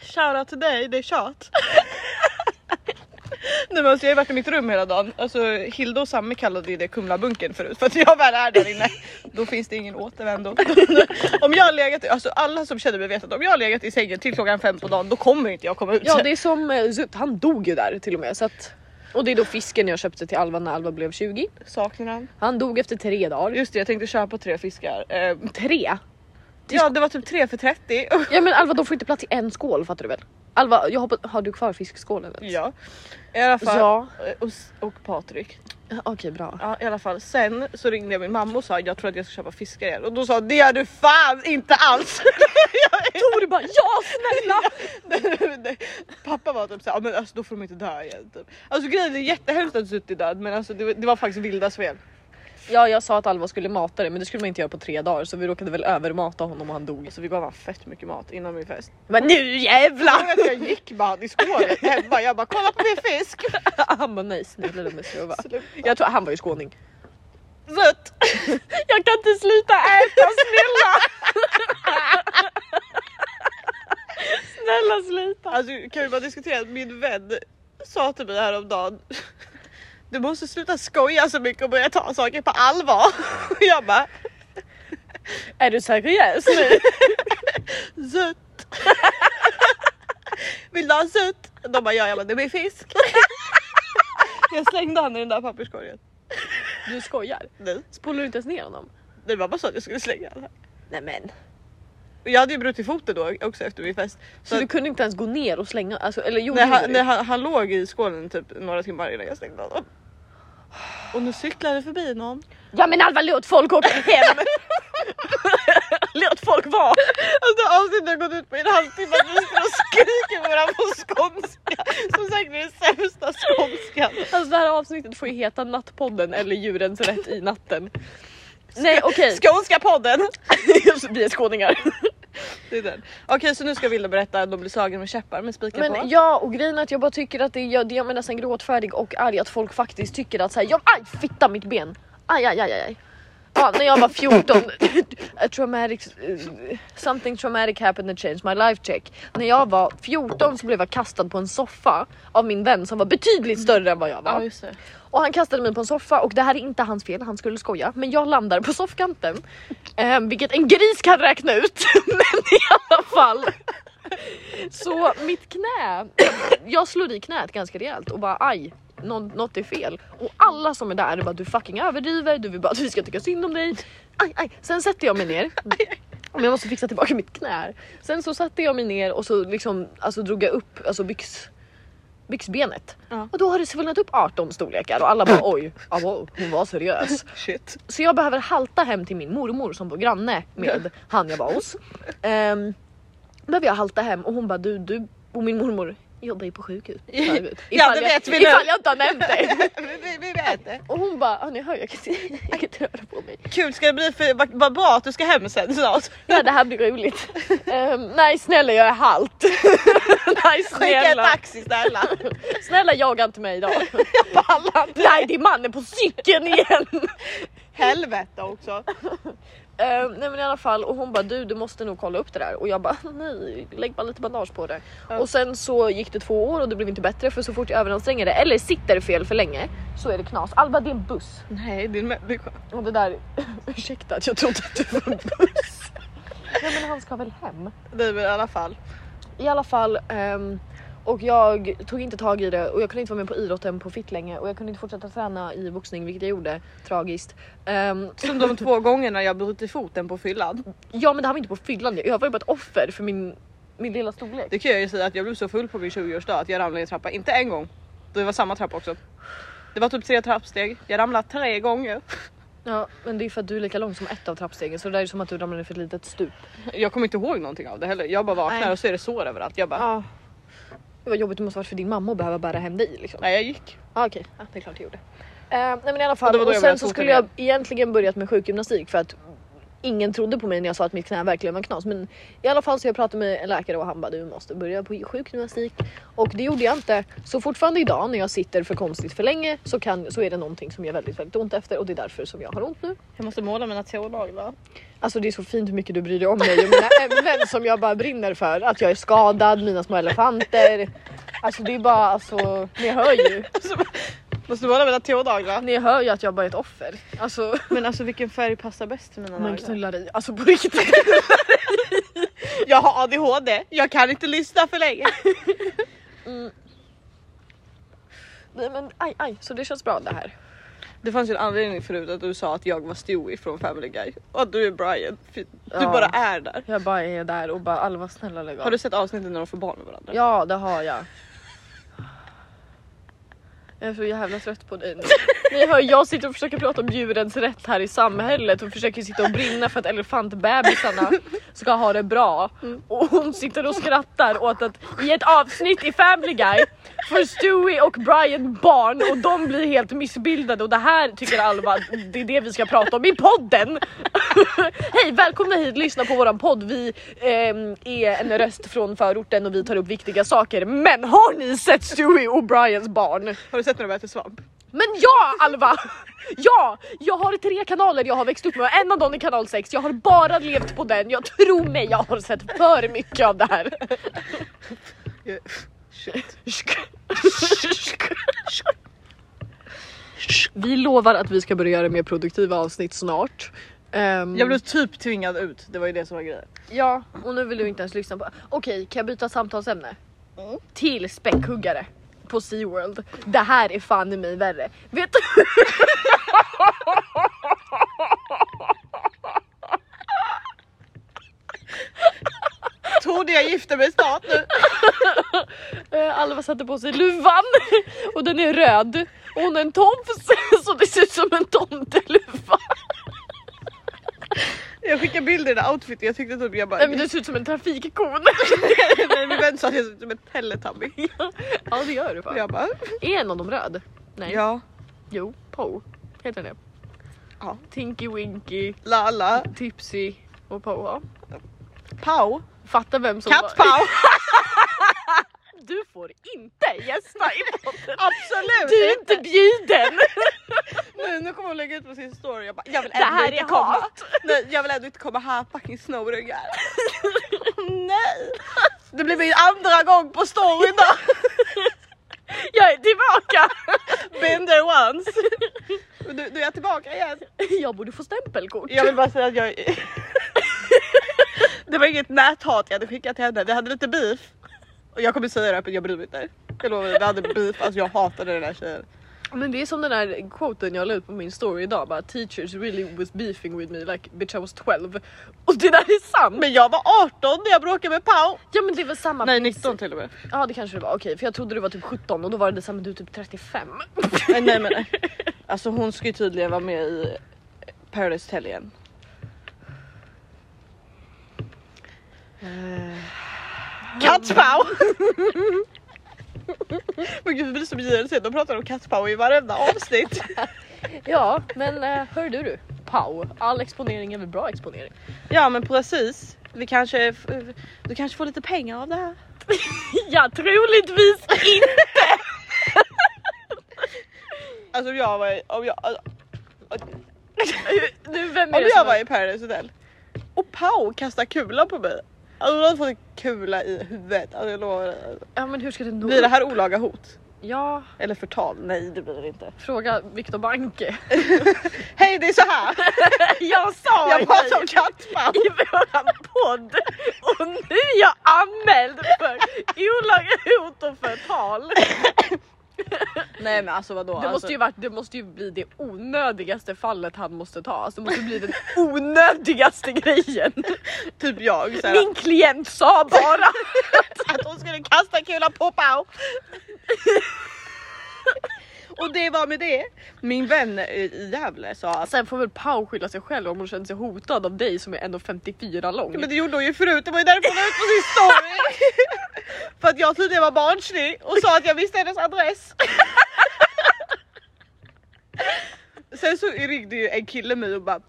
Speaker 1: Shoutout till dig, det är kört. Nej, men alltså, jag har ju varit i mitt rum hela dagen. Alltså, Hilda och Samme kallade ju det Kumlabunkern förut för att jag väl är där inne. Då finns det ingen återvändo. om jag har legat, alltså, alla som känner mig vet att om jag har legat i sängen till klockan fem på dagen då kommer inte jag komma ut.
Speaker 2: Ja det är som eh, Zut, han dog ju där till och med. Så att, och det är då fisken jag köpte till Alva när Alva blev 20.
Speaker 1: Saknar han.
Speaker 2: Han dog efter tre dagar.
Speaker 1: Just det jag tänkte köpa tre fiskar. Eh,
Speaker 2: Tre?
Speaker 1: ja det var typ tre för 30.
Speaker 2: Ja men Alva de får inte plats i en skål fattar du väl? Alva jag hoppas, har du kvar fiskskålen? ens?
Speaker 1: Ja. I alla fall.
Speaker 2: Ja.
Speaker 1: Och, och Patrik.
Speaker 2: Ja, Okej bra.
Speaker 1: Ja, I alla fall. Sen så ringde jag min mamma och sa jag tror att jag ska köpa fiskar igen. Och då sa hon, det gör du fan inte alls.
Speaker 2: Tor bara ja snälla!
Speaker 1: Pappa var typ såhär, "Ja, men alltså, då får de inte dö igen. Typ. Alltså grejen är jättehemskt att Zutti är död men alltså, det, var- det var faktiskt vildas fel.
Speaker 2: Ja jag sa att Alva skulle mata det men det skulle man inte göra på tre dagar så vi råkade väl övermata honom och han dog.
Speaker 1: Alltså, vi gav han fett mycket mat innan min fest.
Speaker 2: Men nu
Speaker 1: Jag
Speaker 2: jävlar!
Speaker 1: vet att jag gick med han i skålen hemma. Jag bara kolla på min fisk.
Speaker 2: Han bara nej snälla du måste jag vara." Jag tror han var ju skåning.
Speaker 1: Zutt.
Speaker 2: Jag kan inte sluta äta snälla! snälla sluta!
Speaker 1: Alltså kan vi bara diskutera att min vän sa till mig häromdagen Du måste sluta skoja så mycket och börja ta saker på allvar. Och jag bara
Speaker 2: Är du seriös nu?
Speaker 1: Zutt! Vill du ha zutt? De bara ja, jag bara det blir fisk. Jag slängde han i den där papperskorgen.
Speaker 2: Du skojar?
Speaker 1: Nej,
Speaker 2: Spolar du inte ens ner honom?
Speaker 1: det var bara så att jag skulle slänga den. här.
Speaker 2: Nej men.
Speaker 1: Och jag hade ju brutit foten då också efter min fest.
Speaker 2: Så du kunde inte ens gå ner och slänga? Alltså, eller jo,
Speaker 1: Nej,
Speaker 2: gjorde
Speaker 1: han,
Speaker 2: du?
Speaker 1: nej, han, han låg i skålen typ några timmar innan jag slängde honom. Och nu cyklar det förbi någon.
Speaker 2: Ja men Alva låt folk åka hem! låt folk vara!
Speaker 1: Alltså avsnittet har gått ut på en halvtimme att vi står och skriker med varandra på skånska. Som säkert är den sämsta skånskan.
Speaker 2: Alltså det här avsnittet får ju heta Nattpodden eller Djurens rätt i natten. Nej okej,
Speaker 1: Skånska podden!
Speaker 2: vi är skåningar.
Speaker 1: Det är den. Okej så nu ska Vilda berätta att de blir slagen med käppar med spikar på.
Speaker 2: Men ja och grejen är att jag bara tycker att det är, jag, det gör mig nästan gråtfärdig och arg att folk faktiskt tycker att såhär, ja aj fitta mitt ben. Aj aj aj aj. aj. Ja, när jag var 14, a traumatic, eh, something traumatic happened that changed my life check. När jag var 14 så blev jag kastad på en soffa av min vän som var betydligt större än vad jag var.
Speaker 1: Ja just det.
Speaker 2: Och han kastade mig på en soffa och det här är inte hans fel, han skulle skoja. Men jag landar på soffkanten. Eh, vilket en gris kan räkna ut. men i alla fall. Så mitt knä, jag slår i knät ganska rejält och bara aj. Nå- något är fel och alla som är där bara du fucking överdriver, du vill bara att vi ska tycka synd om dig. Aj, aj. Sen sätter jag mig ner. Men jag måste fixa tillbaka mitt knä. här. Sen så satte jag mig ner och så liksom, alltså, drog jag upp alltså, byx, byxbenet.
Speaker 1: Ja.
Speaker 2: Och då har det svullnat upp 18 storlekar och alla bara oj, ah, wow, hon var seriös.
Speaker 1: Shit.
Speaker 2: Så jag behöver halta hem till min mormor som bor granne med han jag var hos. Um, behöver jag halta hem och hon bara du, du och min mormor jobbar ju på sjukhus. Ifall
Speaker 1: Ja, det
Speaker 2: jag-
Speaker 1: vet vi nu.
Speaker 2: Ifall jag inte har nämnt det.
Speaker 1: vi, vi, vi vet det.
Speaker 2: Och hon bara, "Ja, ni hör jag kan, inte- jag kan inte röra på mig.
Speaker 1: Kul ska det bli för vad vad bra att du ska hem sen snart.
Speaker 2: Nej det här blir roligt. Ehm, nej snälla jag är halt. nej
Speaker 1: Skicka en
Speaker 2: snälla.
Speaker 1: taxi snälla.
Speaker 2: Snälla jaga inte mig idag. jag pallar inte. Nej det är mannen på cykeln igen.
Speaker 1: Helvete också.
Speaker 2: Ehm, nej men i alla fall och hon bara du du måste nog kolla upp det där och jag bara nej lägg bara lite bandage på det.
Speaker 1: Ja.
Speaker 2: Och sen så gick det två år och det blev inte bättre för så fort jag överanstränger det eller sitter fel för länge så är det knas. Alba det är en buss.
Speaker 1: Nej det är en människa.
Speaker 2: Och det där, ursäkta att jag trodde att du var en buss. nej men han ska väl hem.
Speaker 1: Nej men i alla fall.
Speaker 2: I alla fall ehm, och jag tog inte tag i det och jag kunde inte vara med på idrotten på fitt länge och jag kunde inte fortsätta träna i boxning vilket jag gjorde. Tragiskt. Ehm,
Speaker 1: Som de två gångerna jag brutit foten på fyllan.
Speaker 2: ja men det här var inte på fyllan, jag var ju bara ett offer för min, min lilla storlek.
Speaker 1: Det kan jag ju säga att jag blev så full på min 20-årsdag att jag ramlade i en trappa, inte en gång. Det var samma trappa också. Det var typ tre trappsteg, jag ramlade tre gånger.
Speaker 2: Ja men det är för att du är lika lång som ett av trappstegen så det där är som att du ramlar ner för ett litet stup.
Speaker 1: Jag kommer inte ihåg någonting av det heller. Jag bara vaknar
Speaker 2: Nej.
Speaker 1: och så är det sår överallt. Jag bara,
Speaker 2: Ja. Det var jobbigt det måste varit för din mamma att behöva bära hem dig liksom.
Speaker 1: nej jag gick.
Speaker 2: Ah, Okej, ah, det är klart du gjorde. Eh, nej men i alla
Speaker 1: Och det
Speaker 2: fall
Speaker 1: var
Speaker 2: och,
Speaker 1: då jag
Speaker 2: sen
Speaker 1: började
Speaker 2: så
Speaker 1: sota
Speaker 2: skulle jag egentligen börjat med sjukgymnastik för att ingen trodde på mig när jag sa att mitt knä verkligen var knas. Men i alla fall så jag pratade med en läkare och han bara du måste börja på sjukgymnastik och det gjorde jag inte. Så fortfarande idag när jag sitter för konstigt för länge så, kan, så är det någonting som gör väldigt, väldigt ont efter och det är därför som jag har ont nu.
Speaker 1: Jag måste måla mina tålag va?
Speaker 2: Alltså det är så fint hur mycket du bryr dig om mig och mina ämnen som jag bara brinner för. Att jag är skadad, mina små elefanter. Alltså det är bara alltså, ni hör ju.
Speaker 1: Alltså, Måste måla mina tålag va?
Speaker 2: Ni hör ju att jag bara är ett offer. Alltså
Speaker 1: Men alltså vilken färg passar bäst till mina
Speaker 2: man
Speaker 1: naglar?
Speaker 2: knullar i, alltså på riktigt.
Speaker 1: Jag har ADHD, jag kan inte lyssna för länge.
Speaker 2: Nej men aj aj, så det känns bra det här.
Speaker 1: Det fanns ju en anledning förut att du sa att jag var Stewie från Family Guy och att du är Brian. Fy- Du
Speaker 2: Ja.
Speaker 1: bara är där.
Speaker 2: Jag bara är där och bara Alva snälla lägg av.
Speaker 1: Har du sett avsnittet när de får barn med varandra?
Speaker 2: Ja det har jag. Jag är så jävla trött på dig nu. Ni hör, jag sitter och försöker prata om djurens rätt här i samhället och försöker sitta och brinna för att elefantbebisarna ska ha det bra. Och hon sitter och skrattar åt att i ett avsnitt i Family Guy får Stewie och Brian barn och de blir helt missbildade och det här tycker Alva att det är det vi ska prata om i podden. Hej välkomna hit, lyssna på våran podd. Vi ehm, är en röst från förorten och vi tar upp viktiga saker. Men har ni sett Stewie och Brians barn?
Speaker 1: Har du sett när de äter svamp?
Speaker 2: Men ja Alva! Ja! Jag har tre kanaler jag har växt upp med och en av dem är kanal 6. Jag har bara levt på den. Jag tror mig jag har sett för mycket av det här.
Speaker 1: Eh, Shit.
Speaker 2: Vi lovar att vi ska börja göra mer produktiva avsnitt snart. Ehm,
Speaker 1: Jag blev typ tvingad ut, det var ju det som var grejen.
Speaker 2: Ja, och nu vill du inte ens lyssna på... Okej, kan jag byta samtalsämne?
Speaker 1: Mm.
Speaker 2: Till späckhuggare på SeaWorld. Det här är fan i mig värre. Vet du?
Speaker 1: Tror du jag gifter mig snart nu?
Speaker 2: Eh, Alva satte på sig luvan och den är röd och hon har en tofs så det ser ut som en tomteluva.
Speaker 1: Jag skickade bilder i den här outfiten, jag tyckte typ jag bara...
Speaker 2: Nej men det ser ut som en trafikkon.
Speaker 1: Nej, Min vän sa att jag såg ut som en teletubby.
Speaker 2: Ja det gör du
Speaker 1: Och
Speaker 2: fan.
Speaker 1: jag bara...
Speaker 2: Är en av dem röd? Nej.
Speaker 1: Ja.
Speaker 2: Jo, Po. Heter den det?
Speaker 1: Ja.
Speaker 2: Tinky Winky,
Speaker 1: Lala.
Speaker 2: Tipsy och Po. Ja.
Speaker 1: Pau.
Speaker 2: Fatta vem som var-
Speaker 1: Katt-Pau.
Speaker 2: Du får inte gästa i podden.
Speaker 1: Absolut!
Speaker 2: Du är inte bjuden.
Speaker 1: Nu, nu kommer hon lägga ut på sin story jag bara jag vill
Speaker 2: Det
Speaker 1: ändå
Speaker 2: här
Speaker 1: inte
Speaker 2: är
Speaker 1: komma.
Speaker 2: hat.
Speaker 1: Nej, jag vill ändå inte komma här fucking snorungar. Nej! Det blir min andra gång på storyn då.
Speaker 2: Jag är tillbaka.
Speaker 1: Been there once. Men Nu, nu är jag tillbaka igen.
Speaker 2: Jag borde få stämpelkort.
Speaker 1: Jag vill bara säga att jag... Det var inget näthat jag hade skickat till henne, vi hade lite beef. Och jag kommer säga det här men jag bryr mig inte. Jag lovar, vi hade beef, alltså jag hatade den där tjejen.
Speaker 2: Men det är som den där quoten jag la ut på min story idag bara teachers really was beefing with me like bitch I was 12 och det där är sant.
Speaker 1: Men jag var 18 när jag bråkade med Pau.
Speaker 2: Ja men det var samma.
Speaker 1: Nej 19 till och med.
Speaker 2: Ja det kanske det var okej för jag trodde du var typ 17 och då var det samma du är typ 35.
Speaker 1: Nej, nej men alltså hon ska ju tydligen vara med i Paradise Hotel igen. Eh. Kattspau! Men gud vi blir som JLC, de pratar om kattspau i varenda avsnitt.
Speaker 2: Ja men eh, hörde du Pau, all exponering är väl bra exponering.
Speaker 1: Ja men precis, vi kanske, du kanske får lite pengar av det här.
Speaker 2: Ja troligtvis inte.
Speaker 1: Alltså om jag var i, om jag, alltså,
Speaker 2: Nu vem är
Speaker 1: om
Speaker 2: det
Speaker 1: jag
Speaker 2: som
Speaker 1: var i Paradise Hotel och Pau kastar kula på mig. Alltså hon hade fått en kula i huvudet, alltså jag lovar. dig, alltså.
Speaker 2: Ja men hur ska det nå?
Speaker 1: Blir det här olaga hot?
Speaker 2: Ja
Speaker 1: Eller förtal? Nej det blir det inte.
Speaker 2: fråga Viktor Banke.
Speaker 1: Hej det är så här!
Speaker 2: jag sa
Speaker 1: Jag
Speaker 2: ju
Speaker 1: pratar om kattspau!
Speaker 2: i våran podd och nu är jag anmäld för olaga hot och förtal.
Speaker 1: Nej men alltså vadå?
Speaker 2: Det måste, ju varit, det måste ju bli det onödigaste fallet han måste ta. Alltså, det måste bli den onödigaste grejen.
Speaker 1: typ jag såhär,
Speaker 2: Min klient sa bara.
Speaker 1: att hon skulle kasta kula på Pau. Och det var med det. Min vän i Gävle sa att
Speaker 2: Sen Alltså, får väl Pau skylla sig själv om hon känner sig hotad av dig som är 1,54 lång.
Speaker 1: men det gjorde hon ju förut, det var ju därför hon la ut på sin story. För att jag tydligen var barnslig och sa att jag visste hennes adress. Sen så ringde ju en kille mig och bara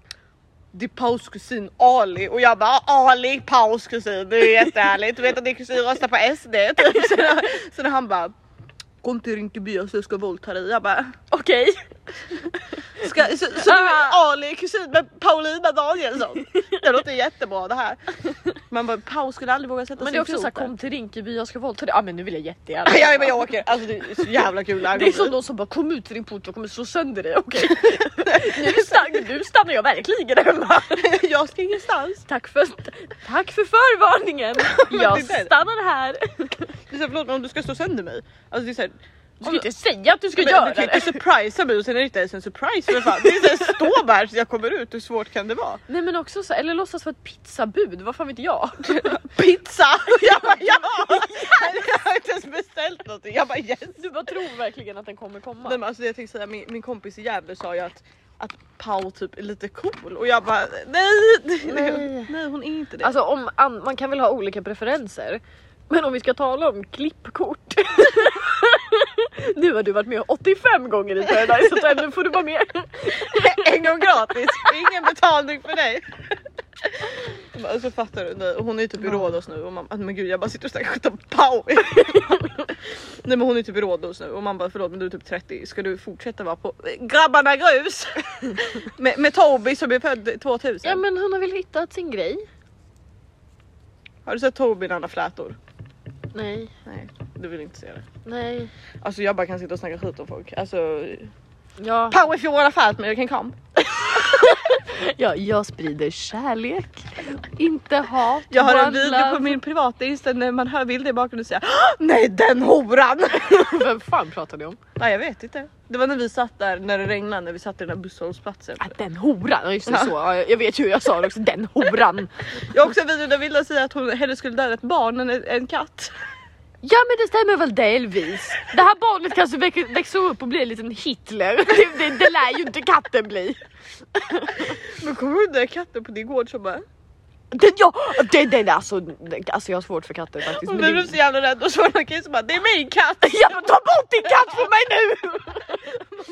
Speaker 1: det är Paus kusin Ali och jag bara Ali Paus kusin, det är jättehärligt. Du vet att din kusin röstar på SD. Typ. Så, när- så när han bara kom till Rinkeby så jag ska våldta dig. Jag bara
Speaker 2: Okej.
Speaker 1: Ska, så, så du
Speaker 2: Ah.
Speaker 1: är Ali kusin med Paulina Danielsson? Det låter jättebra det här. Man bara, Paul skulle aldrig våga sätta
Speaker 2: Men det
Speaker 1: sig
Speaker 2: är
Speaker 1: i
Speaker 2: också såhär
Speaker 1: foten.
Speaker 2: kom till Rinkeby jag ska våldta dig. Ja men nu vill jag jättegärna.
Speaker 1: Ja, ja, men jag åker, alltså det är så jävla kul här.
Speaker 2: Det är som någon som bara kom ut till din port och kommer slå sönder dig. Okej. nu, stann, nu stannar jag verkligen hemma.
Speaker 1: jag ska ingenstans.
Speaker 2: Tack för, tack för förvarningen.
Speaker 1: Men
Speaker 2: Jag
Speaker 1: det där-
Speaker 2: stannar här.
Speaker 1: Det är så här, förlåt men om du ska slå sönder mig. Alltså det är så här,
Speaker 2: Du ska inte säga att du ska
Speaker 1: men,
Speaker 2: göra
Speaker 1: du kan ju
Speaker 2: det.
Speaker 1: inte surprisa mig och sen är det inte ens en surprise för fan. Det är så här, stå bara här så jag kommer ut, hur svårt kan det vara?
Speaker 2: Nej men också så, eller låtsas vara ett pizzabud, vad fan vet jag?
Speaker 1: Pizza! Jag bara ja! Jag har inte ens beställt någonting. Jag bara yes!
Speaker 2: Du bara tror verkligen att den kommer komma.
Speaker 1: Nej, men alltså det jag tänkte säga, min, min kompis i Gävle sa ju att, att Pau typ är lite cool och jag bara nej, nej,
Speaker 2: Nej.
Speaker 1: nej hon är inte det.
Speaker 2: Alltså om, an, man kan väl ha olika preferenser. Men om vi ska tala om klippkort. nu har du varit med 85 gånger i Paradise Hotel, nu får du vara med.
Speaker 1: en gång gratis, ingen betalning för dig. Jag bara, Alltså fattar du, nej, och hon är ju typ i
Speaker 2: Ja.
Speaker 1: Rhodos nu och man alltså, men gud jag bara sitter och snackar skit om Pau. nej men hon är typ i Rhodos nu och man bara förlåt men du är typ 30, ska du fortsätta vara på grabbarna grus? med, med Toby som är född 2000.
Speaker 2: Ja men hon har väl hittat sin grej?
Speaker 1: Har du sett Toby när han har flätor?
Speaker 2: Nej,
Speaker 1: Nej, du vill inte se det.
Speaker 2: nej,
Speaker 1: Alltså jag bara kan sitta och snacka skit om folk. Alltså,
Speaker 2: ja.
Speaker 1: Pow if you wanna fight me you can come.
Speaker 2: ja jag sprider kärlek, inte hat.
Speaker 1: Jag har en
Speaker 2: one
Speaker 1: video
Speaker 2: love.
Speaker 1: på min privata insta när man hör bilder i bakgrunden säga Nej den horan!
Speaker 2: Vem fan pratar ni om?
Speaker 1: Nej jag vet inte. Det var när vi satt där när det regnade när vi satt i den där busshållplatsen.
Speaker 2: Ah, den horan, ja just det så. Ja, jag vet ju hur jag sa det också, den horan.
Speaker 1: Jag har också en video där Vilda säger att hon hellre skulle döda ett barn än en- en katt.
Speaker 2: Ja men det stämmer väl delvis. Det här barnet kanske växer, växer upp och blir en liten Hitler. Det, det, det lär ju inte katten bli.
Speaker 1: Men kommer du ihåg den där katten på din gård som bara
Speaker 2: Den, ja, den, den, alltså, den, alltså jag har svårt för katter faktiskt.
Speaker 1: Hon
Speaker 2: Men det,
Speaker 1: blev så jävla rädd och så var det någon kille som bara Det är min katt!
Speaker 2: ja, men ta bort din katt från mig nu!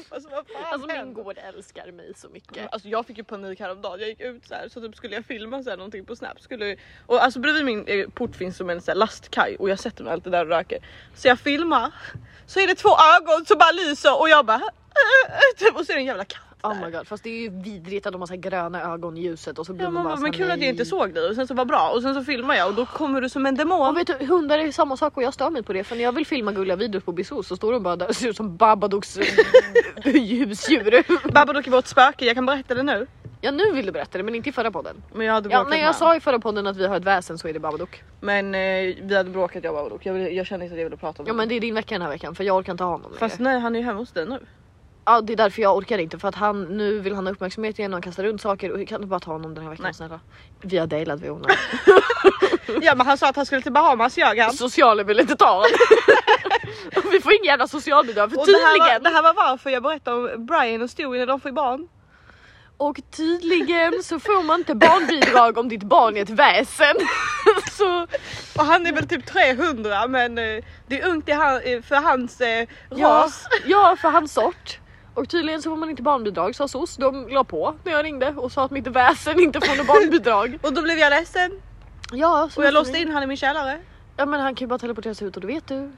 Speaker 1: Alltså, vad fan
Speaker 2: Alltså min
Speaker 1: händer?
Speaker 2: gård älskar mig så mycket.
Speaker 1: Alltså jag fick ju panik häromdagen, jag gick ut så här så typ skulle jag filma så här någonting på snap skulle och alltså bredvid min eh, port finns som en så här lastkaj och jag sätter mig alltid där och röker. Så jag filmar så är det två ögon som bara lyser och jag bara "Eh, eh", typ, och så är det en jävla katt.
Speaker 2: Oh my god, fast det är ju vidrigt att de har så här gröna ögon i ljuset och så blir
Speaker 1: Ja,
Speaker 2: man
Speaker 1: man
Speaker 2: bara
Speaker 1: bara,
Speaker 2: så
Speaker 1: men
Speaker 2: här,
Speaker 1: kul att jag
Speaker 2: nej.
Speaker 1: inte såg dig och sen så var bra och sen så filmar jag och då kommer du som en
Speaker 2: Och
Speaker 1: demon.
Speaker 2: vet du, hundar är ju samma sak och jag stör mig på det för när jag vill filma gulliga videos på Bisous så står de bara där och ser ut som Babadooks husdjur.
Speaker 1: Babadook är vårt spöke, jag kan berätta det nu.
Speaker 2: Ja nu vill du berätta det men inte i förra podden.
Speaker 1: Men jag hade
Speaker 2: Ja,
Speaker 1: bråkat
Speaker 2: när
Speaker 1: med
Speaker 2: jag sa i förra podden att vi har ett väsen så är det Babadook.
Speaker 1: Men eh, vi hade bråkat jag och Babadook, jag, ville- jag kände inte att jag ville prata om
Speaker 2: Ja men
Speaker 1: det.
Speaker 2: det är din vecka den här veckan för jag orkar inte ha honom
Speaker 1: Fast
Speaker 2: längre.
Speaker 1: nej han är ju hemma hos dig nu.
Speaker 2: Ja det är därför jag orkar inte för att han nu vill han ha uppmärksamhet igen och han kastar runt saker och kan du bara ta honom den här veckan
Speaker 1: Nej.
Speaker 2: snälla? Vi har delat vi honom.
Speaker 1: Ja men han sa att han skulle till Bahamas ljög han.
Speaker 2: Socialen vill inte ta honom. Och vi får ingen jävla socialbidrag för
Speaker 1: Och det, här
Speaker 2: tydligen.
Speaker 1: var, det här var varför jag berättade om Brian och Stewie när de får barn.
Speaker 2: Och tydligen så får man inte barnbidrag om ditt barn är ett väsen. så
Speaker 1: Alltså, Och han är väl typ 300 men eh, det är ungt i han, eh, för hans eh,
Speaker 2: ja,
Speaker 1: ras.
Speaker 2: ja för hans sort. Och tydligen så får man inte barnbidrag sa SOS. De la på när jag ringde och sa att mitt väsen inte får något barnbidrag.
Speaker 1: Och då blev jag ledsen
Speaker 2: Ja, så
Speaker 1: och jag låste
Speaker 2: måste vi-
Speaker 1: in han i min källare.
Speaker 2: Ja men han kan ju bara teleporteras ut och det vet du.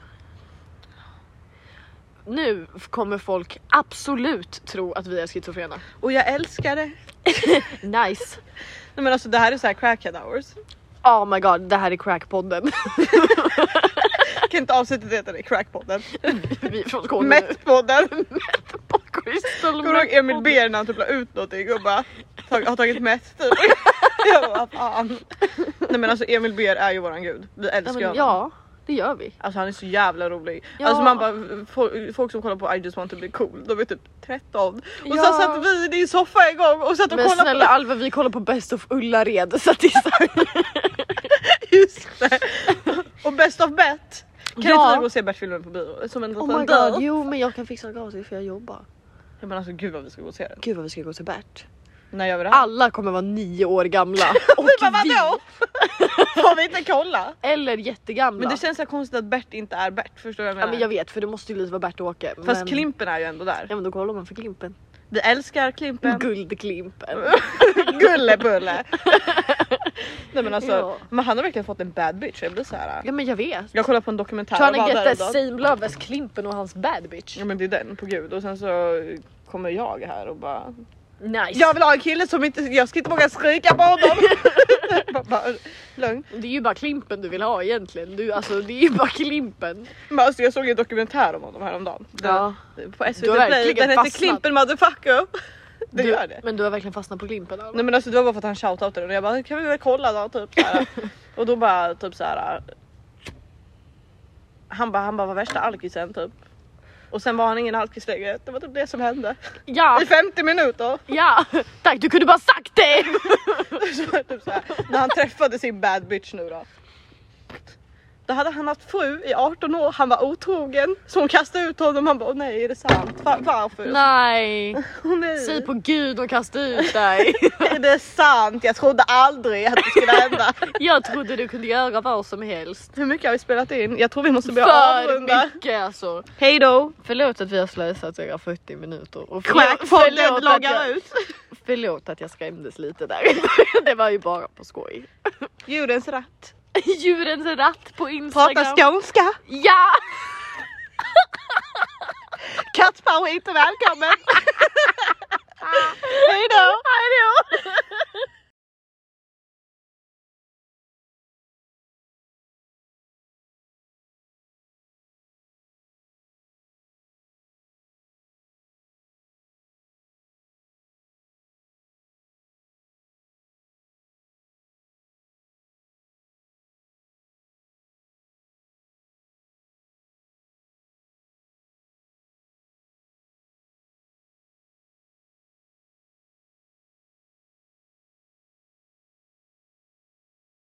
Speaker 2: Nu f- kommer folk absolut tro att vi är schizofrena.
Speaker 1: Och jag älskar det.
Speaker 2: Nice.
Speaker 1: Nej men alltså det här är så här crackhead hours.
Speaker 2: Oh my god, det här är crackpodden.
Speaker 1: Jag kan inte avsluta det utan det är crackpodden.
Speaker 2: Vi är från Skåne nu.
Speaker 1: Methpodden.
Speaker 2: På Crystal
Speaker 1: Kommer du ihåg Emil
Speaker 2: Meth-podden.
Speaker 1: Beer när han typ la ut någonting och bara tag, har tagit meth typ. Jag bara "Vad fan. Nej men alltså Emil Beer är ju våran gud. Vi
Speaker 2: Ja,
Speaker 1: älskar
Speaker 2: men,
Speaker 1: honom.
Speaker 2: ja, det gör vi.
Speaker 1: Alltså han är så jävla rolig.
Speaker 2: Ja.
Speaker 1: Alltså man bara, fo- folk som kollar på I just want to be cool, de är typ 13. Och
Speaker 2: Ja.
Speaker 1: sen satt vi i din soffa en gång och satt och
Speaker 2: Men
Speaker 1: kollade
Speaker 2: snälla
Speaker 1: på
Speaker 2: Alva, vi kollar på Best of Ullared. Så att det är så här-
Speaker 1: just det. Och Best of Bet. Kan Kan
Speaker 2: Ja.
Speaker 1: inte vi gå och se Bert-filmen på bio? Som en liten
Speaker 2: Oh my god,
Speaker 1: dejt.
Speaker 2: jo men jag kan fixa gratis för jag jobbar.
Speaker 1: Ja, men alltså gud vad vi ska gå och se den.
Speaker 2: Gud vad vi ska gå till Bert.
Speaker 1: När gör vi det här?
Speaker 2: Alla kommer vara nio år gamla. Och
Speaker 1: vi bara vadå? Får vi inte kolla?
Speaker 2: Eller jättegamla.
Speaker 1: Men det känns så här konstigt att Bert inte är Bert, förstår du vad jag
Speaker 2: ja,
Speaker 1: menar?
Speaker 2: men jag vet för det måste ju lite vara Bert och Åke.
Speaker 1: Fast
Speaker 2: men...
Speaker 1: Klimpen är ju ändå där.
Speaker 2: Ja men då kollar man för Klimpen.
Speaker 1: Vi älskar Klimpen.
Speaker 2: Guldklimpen.
Speaker 1: Gullebulle! Nej men alltså,
Speaker 2: Ja.
Speaker 1: men han har verkligen fått en bad bitch. Jag blir så här.
Speaker 2: Ja men jag vet.
Speaker 1: Jag kollar på en dokumentär
Speaker 2: Trying to
Speaker 1: bara
Speaker 2: get
Speaker 1: där
Speaker 2: that
Speaker 1: idag.
Speaker 2: same love as Klimpen och hans bad bitch.
Speaker 1: Ja men det är den på gud och sen så kommer jag här och bara
Speaker 2: Nice.
Speaker 1: Jag vill ha en kille som inte, jag ska inte våga skrika på honom. Bara- bara, Lugn.
Speaker 2: Det är ju bara Klimpen du vill ha egentligen. Du, alltså, det är ju bara Klimpen.
Speaker 1: Men alltså jag såg en dokumentär om honom häromdagen. Den,
Speaker 2: Ja.
Speaker 1: På SVT
Speaker 2: Du har
Speaker 1: Play,
Speaker 2: verkligen
Speaker 1: den heter
Speaker 2: fastnat.
Speaker 1: Klimpen motherfucker. Det
Speaker 2: du,
Speaker 1: gör det.
Speaker 2: Men du har verkligen fastnat på Klimpen. Alva.
Speaker 1: Nej men alltså det var bara för att han shoutoutade den och jag bara kan vi väl kolla då typ så här. Och då bara typ så här. Han bara han bara var värsta alkisen typ. Och sen var han ingen alkis längre. Det var typ det som hände.
Speaker 2: Ja,
Speaker 1: I 50 minuter.
Speaker 2: ja. Tack du kunde bara sagt det!
Speaker 1: Så var det typ så här, när han träffade sin bad bitch nu då. Då hade han haft fru i 18 år, han var otrogen. Så hon kastade ut honom, han bara "Åh, nej är det sant? Va- varför?
Speaker 2: Nej,
Speaker 1: Åh, nej.
Speaker 2: säg på gud och kasta ut dig.
Speaker 1: Är det sant? Jag trodde aldrig att det skulle hända.
Speaker 2: Jag trodde du kunde göra vad som helst.
Speaker 1: Hur mycket har vi spelat in? Jag tror vi måste börja
Speaker 2: För
Speaker 1: avrunda.
Speaker 2: mycket alltså.
Speaker 1: Hej då!
Speaker 2: Förlåt att vi har slösat era 40 minuter. Och
Speaker 1: Quackpodden
Speaker 2: att
Speaker 1: loggar
Speaker 2: jag,
Speaker 1: ut.
Speaker 2: förlåt att jag skrämdes lite där. Det var ju bara på skoj.
Speaker 1: Djurens ratt.
Speaker 2: Djurens ratt på Instagram.
Speaker 1: Prata skånska.
Speaker 2: Ja!
Speaker 1: Kattpower är inte välkommen. Hej då!
Speaker 2: Hejdå!